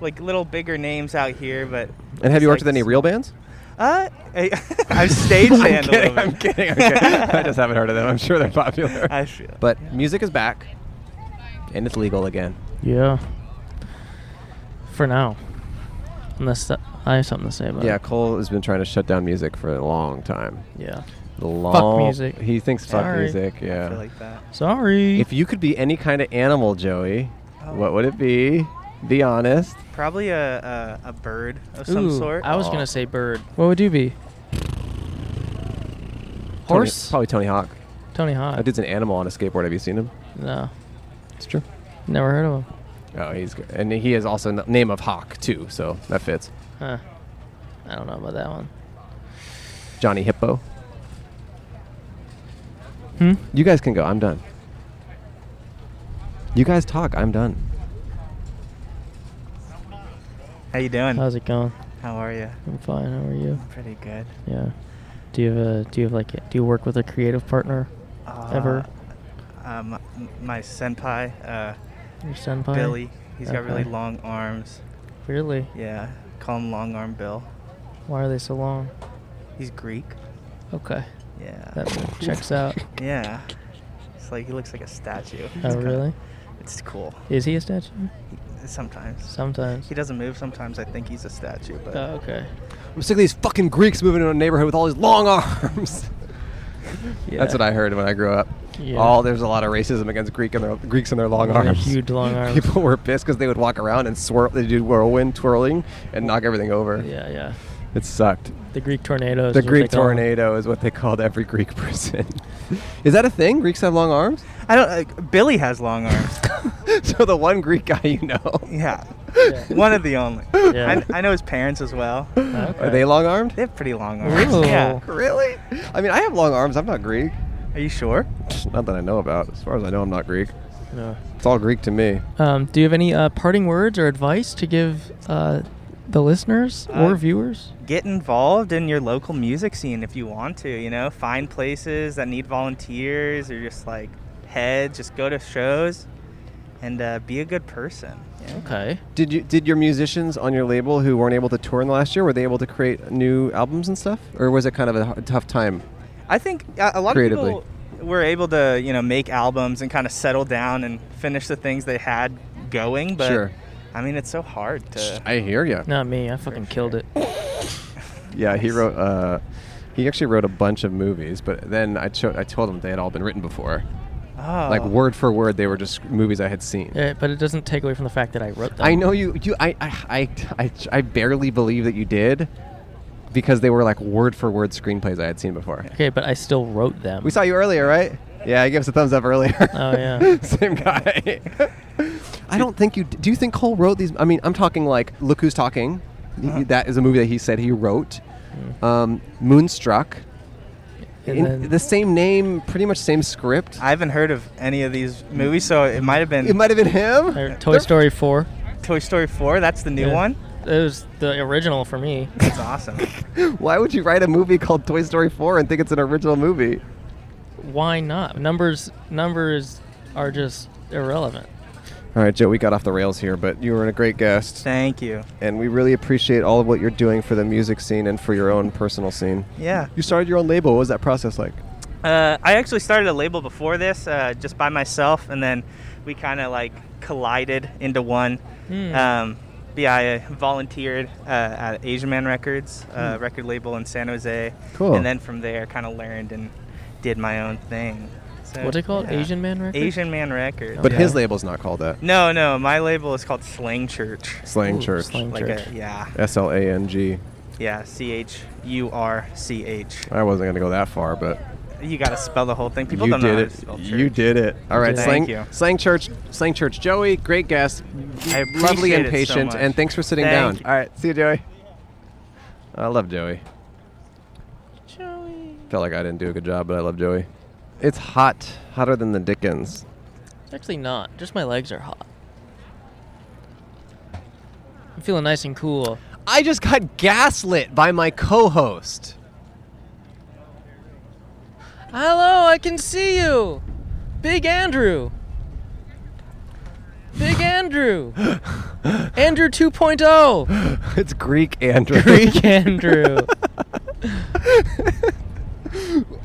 like little bigger names out here, but And have you worked it's with any like- real bands? Uh, I, [laughs] [laughs] I've stage I'm band a little kidding. bit. I'm kidding. I'm [laughs] kidding. I just haven't heard of them. I'm sure they're popular. I feel. But music is back, and it's legal again. Yeah. For now. Unless th- I have something to say about Yeah, it. Cole has been trying to shut down music for a long time. Yeah. Long, music. He thinks fuck Sorry. music. I feel Yeah. like that. Sorry. If you could be any kind of animal, Joey, Oh. what would it be? Be honest. Probably a, a, a bird of Ooh, some sort. I was Aw. going to say bird. What would you be? Tony- Horse? probably Tony Hawk. Tony Hawk. That dude's an animal on a skateboard. Have you seen him? no. It's true. Oh. Never heard of him. Oh, he's good. And he is also the name of Hawk, too, so that fits. Huh. I don't know about that one. Johnny Hippo. Hmm? You guys can go. I'm done. You guys talk. I'm done. How you doing? How's it going? How are you? I'm fine. How are you? Pretty good. Yeah. Do you have a do you have like a- do you work with a creative partner Uh, ever? Um, my senpai, uh, Your senpai? Billy. He's got really Okay. long arms. Really? Yeah, call him Long Arm Bill. Why are they so long? He's Greek. Okay. Yeah. That checks [laughs] out. yeah. It's like he looks like a statue. It's Oh kinda- really? It's cool. Is he a statue? Sometimes. Sometimes. He doesn't move. Sometimes I think he's a statue, but Oh, okay. I'm sick of these fucking Greeks moving into a neighborhood with all these long [laughs] arms. Yeah. That's what I heard when I grew up. Yeah. All there's a lot of racism against Greek and their Greeks and their long Long, arms. [laughs] Huge long arms. People were pissed because they would walk around and swirl. They do whirlwind twirling and knock everything over. Yeah, yeah. It sucked. The Greek tornadoes. The is what they Greek call 'em. tornado is what they called every Greek [laughs] person. is that a thing? Greeks have long arms. I don't. Uh, Billy has long [laughs] arms. so the one Greek guy you know, yeah. Yeah. One of the only. Yeah. Oh, I, I know his parents as well. are they long armed? They have pretty long arms. Ooh. Yeah. Really? I mean, I have long arms. I'm not Greek. Are you sure? Not that I know about. As far as I know, I'm not Greek. No. It's all Greek to me. Um, do you have any uh, parting words or advice to give uh, the listeners Uh, or viewers? get involved in your local music scene if you want to you know find places that need volunteers or just like heads just go to shows and uh, be a good person yeah. Okay. Did you did your musicians on your label who weren't able to tour in the last year were they able to create new albums and stuff, or was it kind of a h- tough time? i think uh, a, a lot Creatively. of people were able to you know make albums and kind of settle down and finish the things they had going but Sure. i mean it's so hard to I hear you. Not me. I fucking killed it. Yeah, he wrote. Uh, he actually wrote a bunch of movies, but then I cho- I told him they had all been written before, oh. like word for word. They were just movies I had seen. Yeah, but it doesn't take away from the fact that I wrote them. I know you. You. I. I. I. I, I barely believe that you did, because they were like word for word screenplays I had seen before. Okay, but I still wrote them. We saw you earlier, right? Yeah, he gave us a thumbs up earlier. [laughs] Oh, yeah. same guy. [laughs] I don't think you. Do you think Cole wrote these? I mean, I'm talking like Look Who's Talking. That is a movie that he said he wrote. Um, Moonstruck. And In- then- the same name, pretty much same script. i haven't heard of any of these movies so it might have been it might have been him. Or Toy Story 4. toy story 4 that's the new Yeah. one It was the original for me. that's [laughs] awesome [laughs] Why would you write a movie called Toy Story 4 and think it's an original movie? Why not? Numbers numbers are just irrelevant. All right, Joe, we got off the rails here, but you were a great guest, thank you and we really appreciate all of what you're doing for the music scene and for your own personal scene. yeah You started your own label. What was that process like? Uh, I actually started a label before this, uh, just by myself, and then we kind of like collided into one. Hmm. Um, but yeah, I volunteered uh, at Asian Man Records, uh, Hmm. record label in San Jose. Cool. And then from there, kind of learned and did my own thing. So, What's it called? Asian Man Records? Asian Man Records. But Okay. his label's not called that. No, no, my label is called Slang Church. Slang Ooh, Church. Slang Like Church. a yeah, S L A N G. yeah, C H U R C H. I wasn't gonna go that far, but You gotta spell the whole thing. People you don't did know how it. to spell You church. did it. All right, did it. slang, Thank you. slang Church, Slang Church. Joey, great guest, I lovely appreciate and it so patient, much. and thanks for sitting Thank down. you. All right, see you, Joey. I love Joey. Joey. Felt like I didn't do a good job, but I love Joey. It's hot, hotter than the Dickens. [laughs] It's actually not. Just my legs are hot. I'm feeling nice and cool. I just got gaslit by my co-host. Hello, I can see you. Big Andrew. [laughs] Big Andrew. Andrew oh. 2.0. [laughs] it's Greek Andrew. [laughs] Greek Andrew.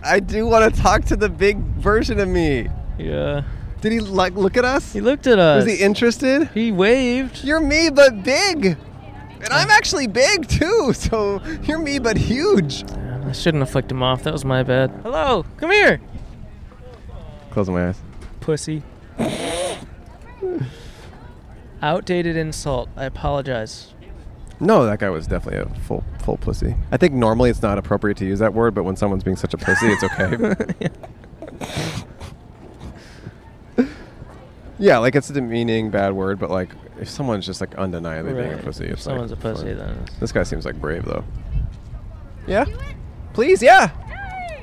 I do want to talk to the big version of me. yeah. Did he like look at us? He looked at us. Was he interested? he waved. You're me, but big. And I'm actually big too, [laughs] so you're me, but huge. I shouldn't have flicked him off. That was my bad. Hello, come here. Closing my eyes. Pussy. Outdated insult. I apologize. No, that guy was definitely a full full pussy. I think normally it's not appropriate to use that word, but when someone's being such a pussy, it's [laughs] okay. yeah, like it's a demeaning bad word, but like if someone's just like undeniably being a Right. pussy, If it's someone's like, a pussy, fine. then it's- This guy seems like brave though. Yeah, please, yeah.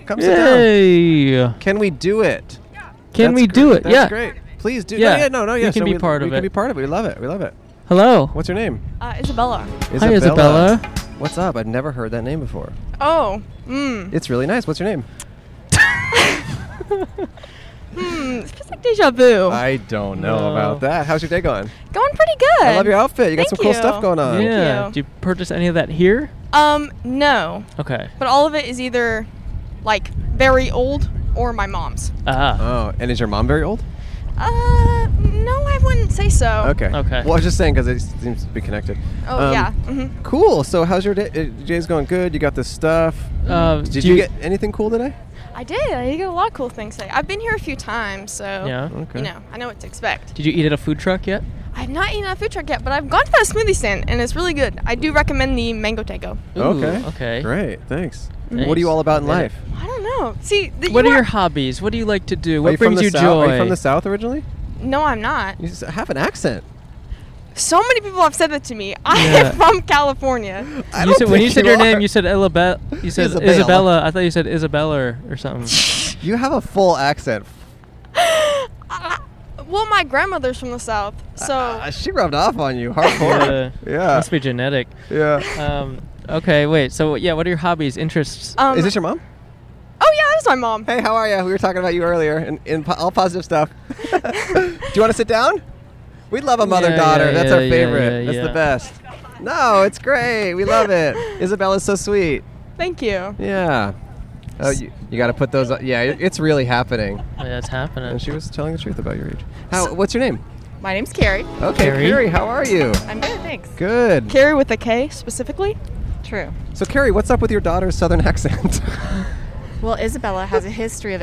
Come sit down. Yay! Can we do it? Can That's we do great. it? That's yeah. great. Please do. Yeah. No, yeah, no, no, You yeah. can be we, part we of can it. be part of it. We love it. We love it. Hello. What's your name? Uh, Isabella. Hi, Isabella. What's up? I've never heard that name before. Oh, Hmm? mm. It's really nice. What's your name? hmm. It feels like deja vu. Oh. I don't know No. about that. How's your day going? Going pretty good. I love your outfit. You got Thank some cool you. stuff going on. yeah. you. Did you purchase any of that here? Um, no, Okay. but all of it is either like very old or my mom's. Ah. Oh, and is your mom very old? Uh, no, I wouldn't say so. Okay. Oh. Okay. Well, I was just saying because it seems to be connected. Oh Um, yeah. hmm Cool. So how's your day? uh, Day's going good. You got this stuff. Uh, Did do you you- get anything cool today? I did. I got a lot of cool things today. I've been here a few times, so Yeah. Okay. you know, I know what to expect. Did you eat at a food truck yet? I've not eaten at a food truck yet, but I've gone to that smoothie stand and it's really good. I do recommend the mango taco. okay. Okay. Great. Thanks. Nice. What are you all about in Did it. life? I don't know. See, the, What you are your want- hobbies? What do you like to do? are What you from brings the you south? Are joy? you from the south originally? No, I'm not. You s- have an accent. So many people have said that to me. I Yeah. am from California. I You don't said, when think you said your are. name, you said Elabella. Uh, You said Isabella. Isabella. I thought you said Isabella or something. You have a full accent. I- well, my grandmother's from the South, so Uh, she rubbed off on you hardcore. yeah. Must be genetic. Yeah. Um, okay. Wait. So yeah, what are your hobbies, interests? um, Is this your [laughs] mom? Oh yeah, that's my mom. Hey, how are you? We were talking about you earlier, and in po- all positive stuff. [laughs] Do you want to sit down? We love a mother-daughter. yeah, That's yeah, our yeah, favorite. yeah, That's yeah. the best. No, it's great. We love it. Isabella's so sweet. Thank you. Yeah. Oh, you, you got to put those. Up. Yeah, it- it's really happening. Yeah, that's happening. And she was telling the truth about your age. How? What's your name? My name's Carrie. Okay, Carrie. Carrie. How are you? I'm good, thanks. Good. Carrie with a K specifically. True. So, Carrie, what's up with your daughter's southern [laughs] accent? Well, Isabella has a history of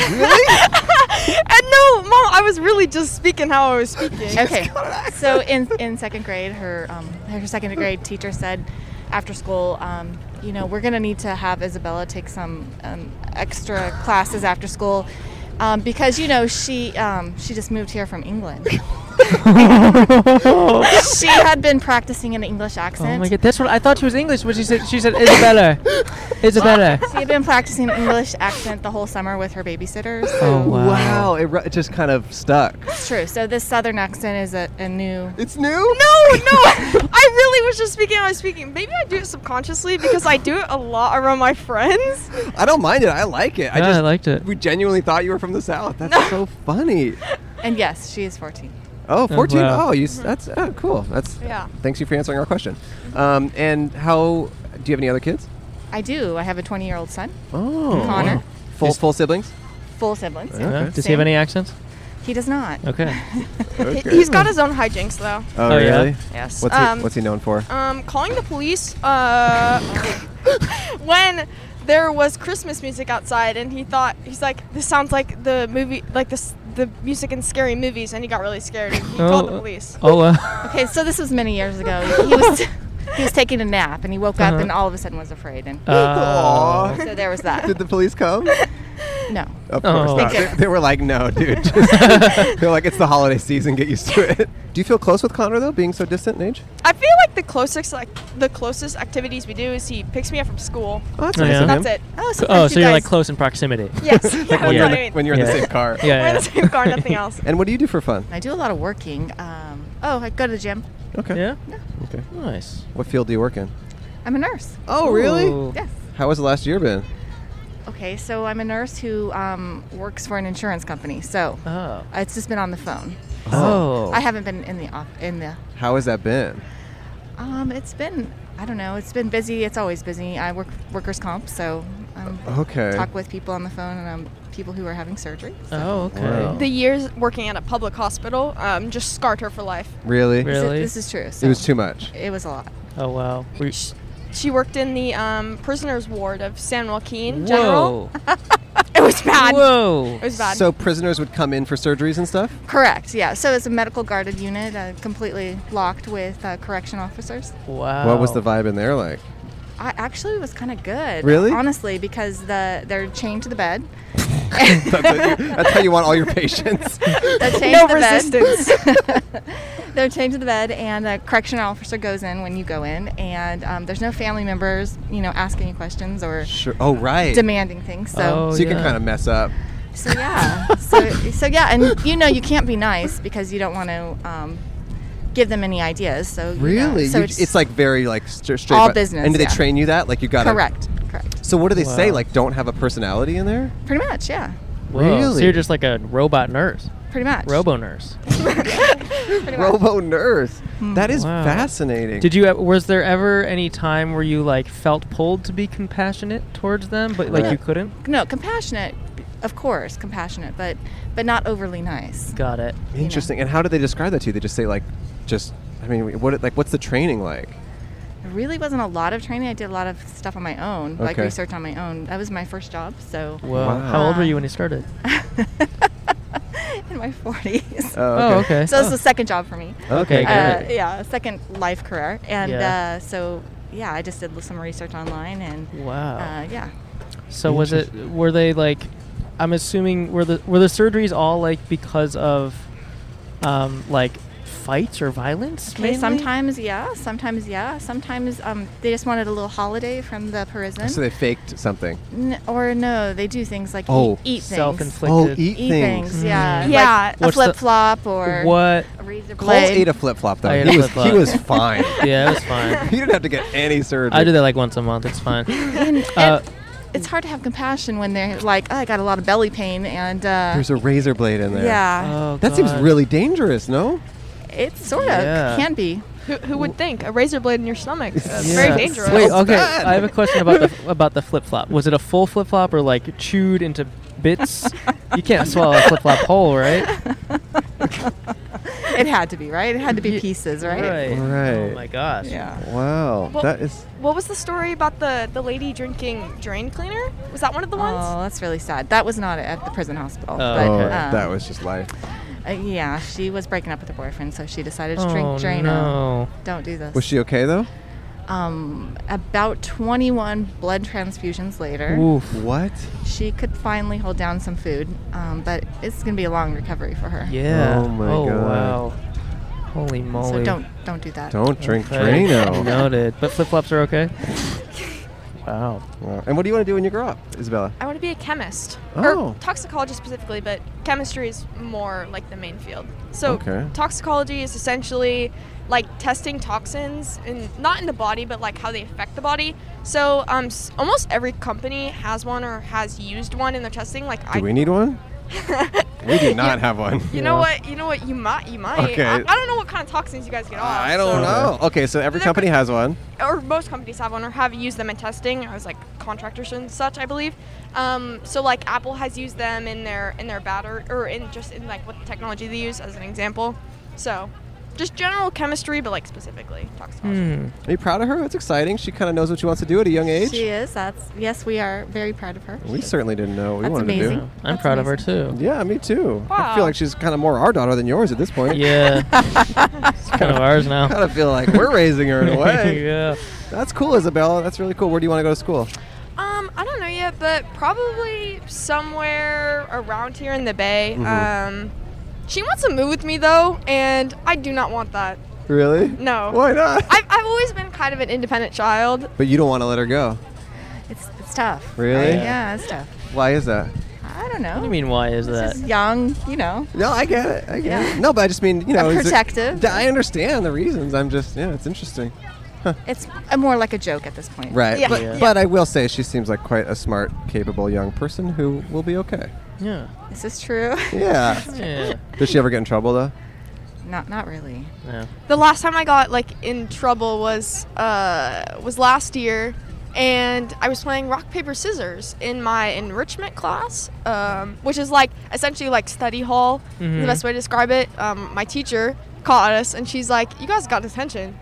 [laughs] [laughs] Oh, and no, mom, I was really just speaking how I was speaking. okay. So in, in second grade, her um, her second grade teacher said after school, um, you know, we're gonna need to have Isabella take some um, extra classes after school um, because you know she um, she just moved here from [laughs] England. she had been practicing an English accent. Oh my god, that's what I thought she was English when she said she [laughs] said Isabella. Isabella. She had been practicing an English accent the whole summer with her babysitters. So Oh, wow. It, ru- it just kind of stuck. it's true. So this southern accent is a, a new. It's new. No, no, I really [laughs] was just speaking how I was speaking. Maybe I do it subconsciously because I do it a lot around my friends. I don't mind it. I like it. I Yeah, just I liked it. We genuinely thought you were from the south. That's [laughs] so funny. And yes, she is 14. Oh, 14. Oh, wow. you. s- That's oh, cool. That's Yeah. Thanks you for answering our question. Um, and how do you have any other kids? I do. I have a 20 year old son, Oh, Connor. Full, full siblings? Full siblings. Okay. Yeah. Does he have any accents? He does not. Okay. He- He's got his own hijinks though. Oh, Oh, yeah? really? Yes. What's, Um, he, what's he known for? Um, calling the police. Uh, [laughs] when there was Christmas music outside, and he thought he's like, this sounds like the movie, like this the music in scary movies, and he got really scared. And he called the Oh, police. Oh, uh, Okay, [laughs] so this was many years ago. He was he was taking a nap and he woke up Uh-huh. and all of a sudden was afraid and uh, so there was that. Did the police come? No. Of course Oh. not. They They, did. they were like, no, [laughs] dude. just- they're like, it's the holiday season. Get used to it. Do you feel close with Connor, though, being so distant in age? I feel like the closest like the closest activities we do is he picks me up from school. Oh, that's Oh, nice yeah. of him. That's it. Oh, so, oh, that's so you you're like guys. close in proximity. [laughs] [laughs] Yes. Like yeah, when, that's you're what in I the, mean. when you're in the Yeah. same car. Yeah, We're in yeah. the same car, [laughs] nothing else. And what do you do for fun? I do a lot of working. Um, oh, I go to the gym. Okay. Yeah? Okay. Nice. What field do you work in? I'm a nurse. Oh, Ooh. Yes. How has the last year been? Okay, so I'm a nurse who um, works for an insurance company. So Oh. it's just been on the phone. Oh. I haven't been in the off in the. How has that been? Um, it's been I don't know. It's been busy. It's always busy. I work workers comp, so um, Okay. talk with people on the phone and um, people who are having surgery. Oh, okay. Wow. The years working at a public hospital um, just scarred her for life. Really? Really? This is- This is true. So It was too much. It was a lot. Oh, wow. Were you- Sh- She worked in the um, prisoners ward of San Joaquin General. [laughs] Whoa. It was bad. Whoa. It was bad. So prisoners would come in for surgeries and stuff? Correct. Yeah. So it's a medical guarded unit, uh, completely locked with uh, correction officers. Wow. What was the vibe in there like? I actually was kind of good. Really? Honestly, because the they're chained to the [laughs] bed. [laughs] That's, how you, that's how you want all your [laughs] [laughs] patients. They're chained No to the resistance. [laughs] Bed. they're chained to the bed, and the correctional officer goes in when you go in, and um, there's no family members, you know, asking you questions or sure. Oh, right. demanding things. So, Oh, so you can yeah. kind of mess up. so yeah, so, so yeah, and you know, you can't be nice because you don't want to um, give them any ideas. So you know, Really? so You- it's, like very like st- straight. all but- business, And do they yeah. train you that? Like you got to correct, correct, So what do they say? Wow. Like don't have a personality in there? pretty much, yeah, Whoa. So Really? you're just like a robot nurse, pretty much. robo nurse. Robo nurse. Mm-hmm. That is Wow. fascinating. Did you? ev- Was there ever any time where you like felt pulled to be compassionate towards them, but like Right. you couldn't? No, compassionate, of course, compassionate, but but not overly nice. Got it. know. Interesting. And how do they describe that to you? They just say like, just. I mean, what like what's the training like? There really wasn't a lot of training. I did a lot of stuff on my own, like Okay. research on my own. That was my first job, so Whoa. Wow. How old were you when [laughs] you started? in my 40s. Oh, okay. So this is the second job for me. Okay, Uh, got it. yeah, second life career, and Yeah. uh, so yeah, I just did some research online, and Wow. uh, yeah, so was it? Were they like? I'm assuming were the were the surgeries all like because of, um, like fights or violence? Okay, mainly? sometimes yeah, sometimes yeah, sometimes um, they just wanted a little holiday from the prison, So they faked something. N- or no, they do things like Oh. eat, eat things, Self-inflicted. Oh, eat, Mm. eat things, yeah, like Yeah. a What's the- flip flop or What? a razor Cole ate blade. a flip flop I though. ate He a was he Oh, flip-flop. was fine. [laughs] Yeah, it was fine. [laughs] He didn't have to get any surgery. I do that like once a month. It's [laughs] fine. And- Uh, and it's hard to have compassion when they're like, oh, I got a lot of belly pain, and uh, There's a razor blade in there. yeah, oh, That seems God. really dangerous, no? it's sort of Yeah. can be. who, who would think a razor blade in your stomach? That's Yeah. very dangerous. Wait, That's okay. bad. I have a question about the about the flip flop. Was it a full flip flop or like chewed into bits? [laughs] you can't swallow a flip flop whole, right? It had to be right. It had to be Ye- pieces, right? Oh Oh Right. my gosh. Yeah. Wow. Well- that is What was the story about the, the lady drinking drain cleaner? Was that one of the Oh, ones? that's really sad. That was not at the prison hospital. Oh, Oh, okay. um, that was just life. uh, yeah, she was breaking up with her boyfriend, so she decided to drink Oh Drano. no. Don't do this. Was she okay though? um, about 21 blood transfusions later, Oof. What? she could finally hold down some food, um, but it's going to be a long recovery for her. Yeah. Oh my God. wow. Holy moly. So don't don't do that. Don't drink Okay. Drano. [laughs] Noted. But flip flops [laughs] are okay. [laughs] wow. Wow. And what do you want to do when you grow up, Isabella? I want to be a chemist. Oh. Or toxicologist specifically, but chemistry is more like the main field. So Okay. toxicology is essentially like testing toxins and not in the body, but like how they affect the body. So um, s- almost every company has one or has used one in their testing. Like I, Do we need one? we do not have one. you know Yeah. what? You know what? You might. You might. Okay. I, I don't know what kind of toxins you guys get off. I so- don't know. Okay, so every company has one. or most companies have one or have used them in testing. I was like, contractors and such, I believe. Um, so like Apple has used them in their in their battery or in just in like what technology they use as an example. So just general chemistry, but like specifically toxicology. Hmm. Are you proud of her? That's exciting. She kind of knows what she wants to do at a young age. She is. That's yes. We are very proud of her. we certainly didn't know what we That's wanted amazing. to do. I'm proud of her too. Yeah, me too. I feel like she's kind of more our daughter than yours at this point. [laughs] Yeah, it's kind of ours now. kind of feel like we're raising her in a [laughs] way. yeah. That's cool, Isabella. That's really cool. Where do you want to go to school? Um, I don't know yet, but probably somewhere around here in the Bay. Mm-hmm. Um, she wants to move with me though, and I do not want that. Really? No. Why not? I've, I've always been kind of an independent child. But you don't want to let her go. It's it's tough. Really? Yeah, it's tough. Why is that? I don't know. What do you mean? Why is that? She's young, you know. No, I get it. I get Yeah. it. No, but I just mean, you know, I'm is it- protective. I understand the reasons. I'm just, yeah, it's interesting. It's uh, more like a joke at this point. Right. Yeah. But, Yeah. but I will say she seems like quite a smart, capable young person who will be okay. Yeah. This is true. Yeah. [laughs] Yeah. Does she ever get in trouble though? [laughs] not not really. yeah. The last time I got like in trouble was uh, was last year, and I was playing rock paper scissors in my enrichment class, um, which is like essentially like study hall. Mm-hmm. is The best way to describe it. Um, my teacher caught us, and she's like, "You guys got detention."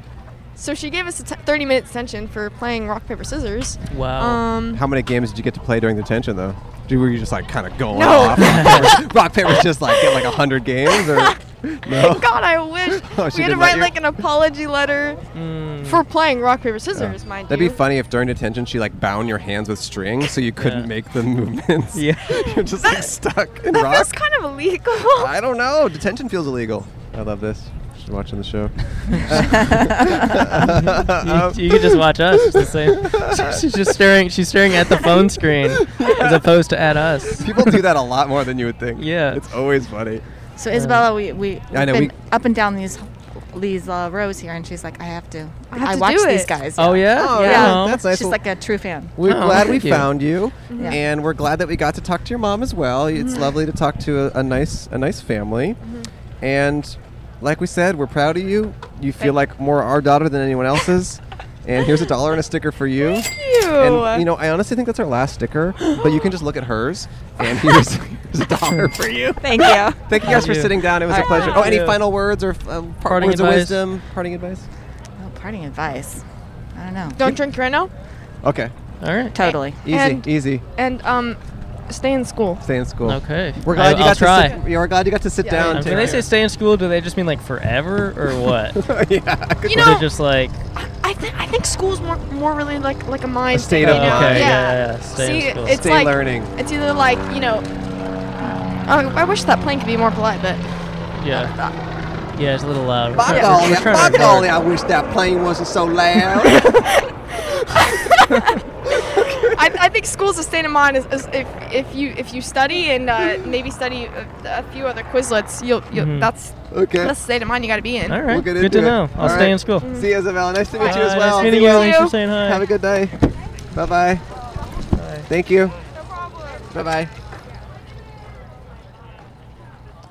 So she gave us a t- 30 minute detention for playing rock paper scissors. Wow. Um, How many games did you get to play during the detention though? Do- Were you just like kind of going No. off? [laughs] Rock paper, rock paper's just like get like a hundred games or [laughs] no? God, I wish [laughs] Oh, she we had to didn't let write you- like an apology letter Mm. for playing rock paper scissors, mind That'd you. be funny if during detention she like bound your hands with strings so you couldn't Yeah. make the [laughs] movements. Yeah. You're just like stuck in That rock. feels kind of illegal. [laughs] I don't know. Detention feels illegal. I love this. She's watching the [laughs] show. Um, you, you could just watch us. It's [laughs] the same. she's just staring. She's staring at the phone screen as opposed to at us. People do that a lot more than you would think. Yeah. It's always funny. So Isabella, we we I know, been we- up and down these these uh, rows here, and she's like, I have to. I, have to watch do these it." guys. Oh yeah. Oh, Yeah. Wow. That's nice. She's like a true fan. We're Oh, glad we thank you. found you, Yeah. and we're glad that we got to talk to your mom as well. It's Mm-hmm. lovely to talk to a, a nice, a nice family, Mm-hmm. and like we said, we're proud of you. You feel like more our daughter than anyone else's. And here's a dollar and a sticker for you. Thank you. And you know, I honestly think that's our last sticker, but you can just look at hers. And [laughs] here's, here's a dollar for [laughs] you. Thank you. Thank you guys for you. sitting down. It was a Alright. pleasure. Oh, any Yeah. final words or um, par- Parting words of advice. wisdom, parting advice? Oh, parting advice. I don't know. Don't drink Reno Okay, All right. Totally. easy, And- easy. and um, stay in school. Stay in school. Okay. We're glad I, you I'll got try. to sit. We're glad you got to sit Yeah. down. Um, too. when they say stay in school, do they just mean like forever or what? Or [laughs] yeah, good You is know, it just like I think I think school's more more really like like a mind state thing, of you know? mind. Okay, yeah, yeah, stay in See, school. it's Stay like learning. it's either like you know. Oh, I wish that plane could be more polite, but uh, yeah? Yeah, it's a little loud. We're By trying- golly, we're trying to by record. golly, I wish that plane wasn't so loud. I, I think school's a state of mind is, is if, if you if you study and uh, maybe study a, a few other Quizlets, you'll, you'll Mhm. that's okay. that's the state of mind you got to be in. All right. get good to into it. know. I'll All stay right. in school. Mm-hmm. See you, Isabella. Nice to meet you Bye, as well. Nice meeting See you. you. Thanks for saying hi. Have a good day. Bye bye. Thank you. Bye bye.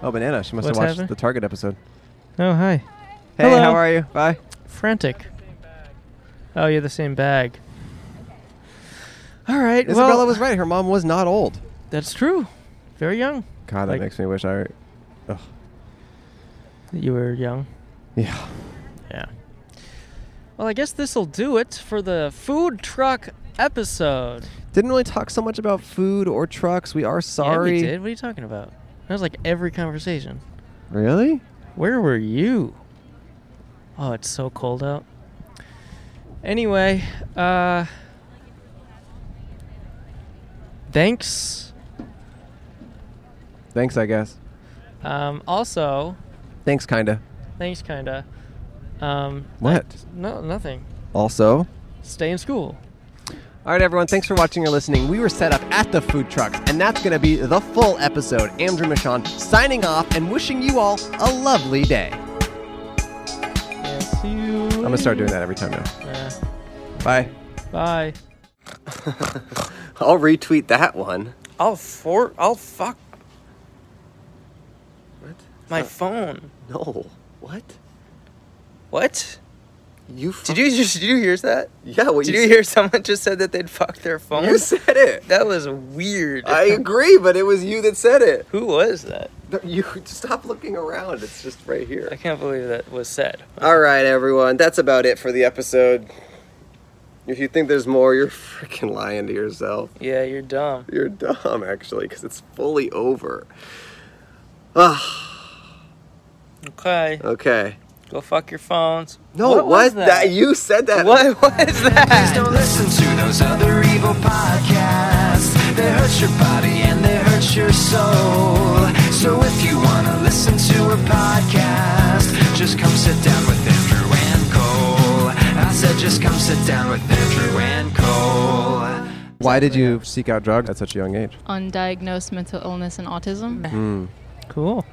Oh, banana! She must What's have watched happening? the Target episode. oh hi. Hey, Hello. how are you? Bye. Frantic. Oh, you're the same bag. All right. Isabella well, was right. Her mom was not old. That's true. Very young. God, that Like- makes me wish I. Ugh. You were young. Yeah. Yeah. Well, I guess this'll do it for the food truck episode. Didn't really talk so much about food or trucks. We are sorry. Yeah, we did. What are you talking about? That was like every conversation. Really? Where were you? Oh, it's so cold out. Anyway, uh Thanks. Thanks, I guess. Um also, Thanks, kinda. thanks kinda. Um What? no nothing. Also. Stay in school. All right, everyone. Thanks for watching or listening. We were set up at the food trucks, and that's going to be the full episode. Andrew Michon signing off and wishing you all a lovely day. I'm See you. I'm gonna start doing that every time now. Bye. [laughs] bye. I'll retweet that one. I'll for I'll fuck What? my phone. No. What? What? You did you just did you hear that? Yeah, what did you you, said- hear? Someone just said that they'd fuck their phone. You said it. That was weird. [laughs] I agree, but it was you that said it. Who was that? You [laughs] stop looking around. It's just right here. I can't believe that was said. All right, everyone. That's about it for the episode. If you think there's more, you're freaking lying to yourself. Yeah, you're dumb. You're dumb, actually, because it's fully over. Ah, Okay. okay. Go fuck your phones. No, what? that? You said that. What [laughs] was that? Please don't listen to those other evil podcasts. They hurt your body and they hurt your soul. So if you wanna listen to a podcast, just come sit down with Andrew and Cole. I said just come sit down with Andrew and Cole. Why did you seek out drugs at such a young age? [laughs] Hmm. Undiagnosed mental illness and autism. Mm. Cool.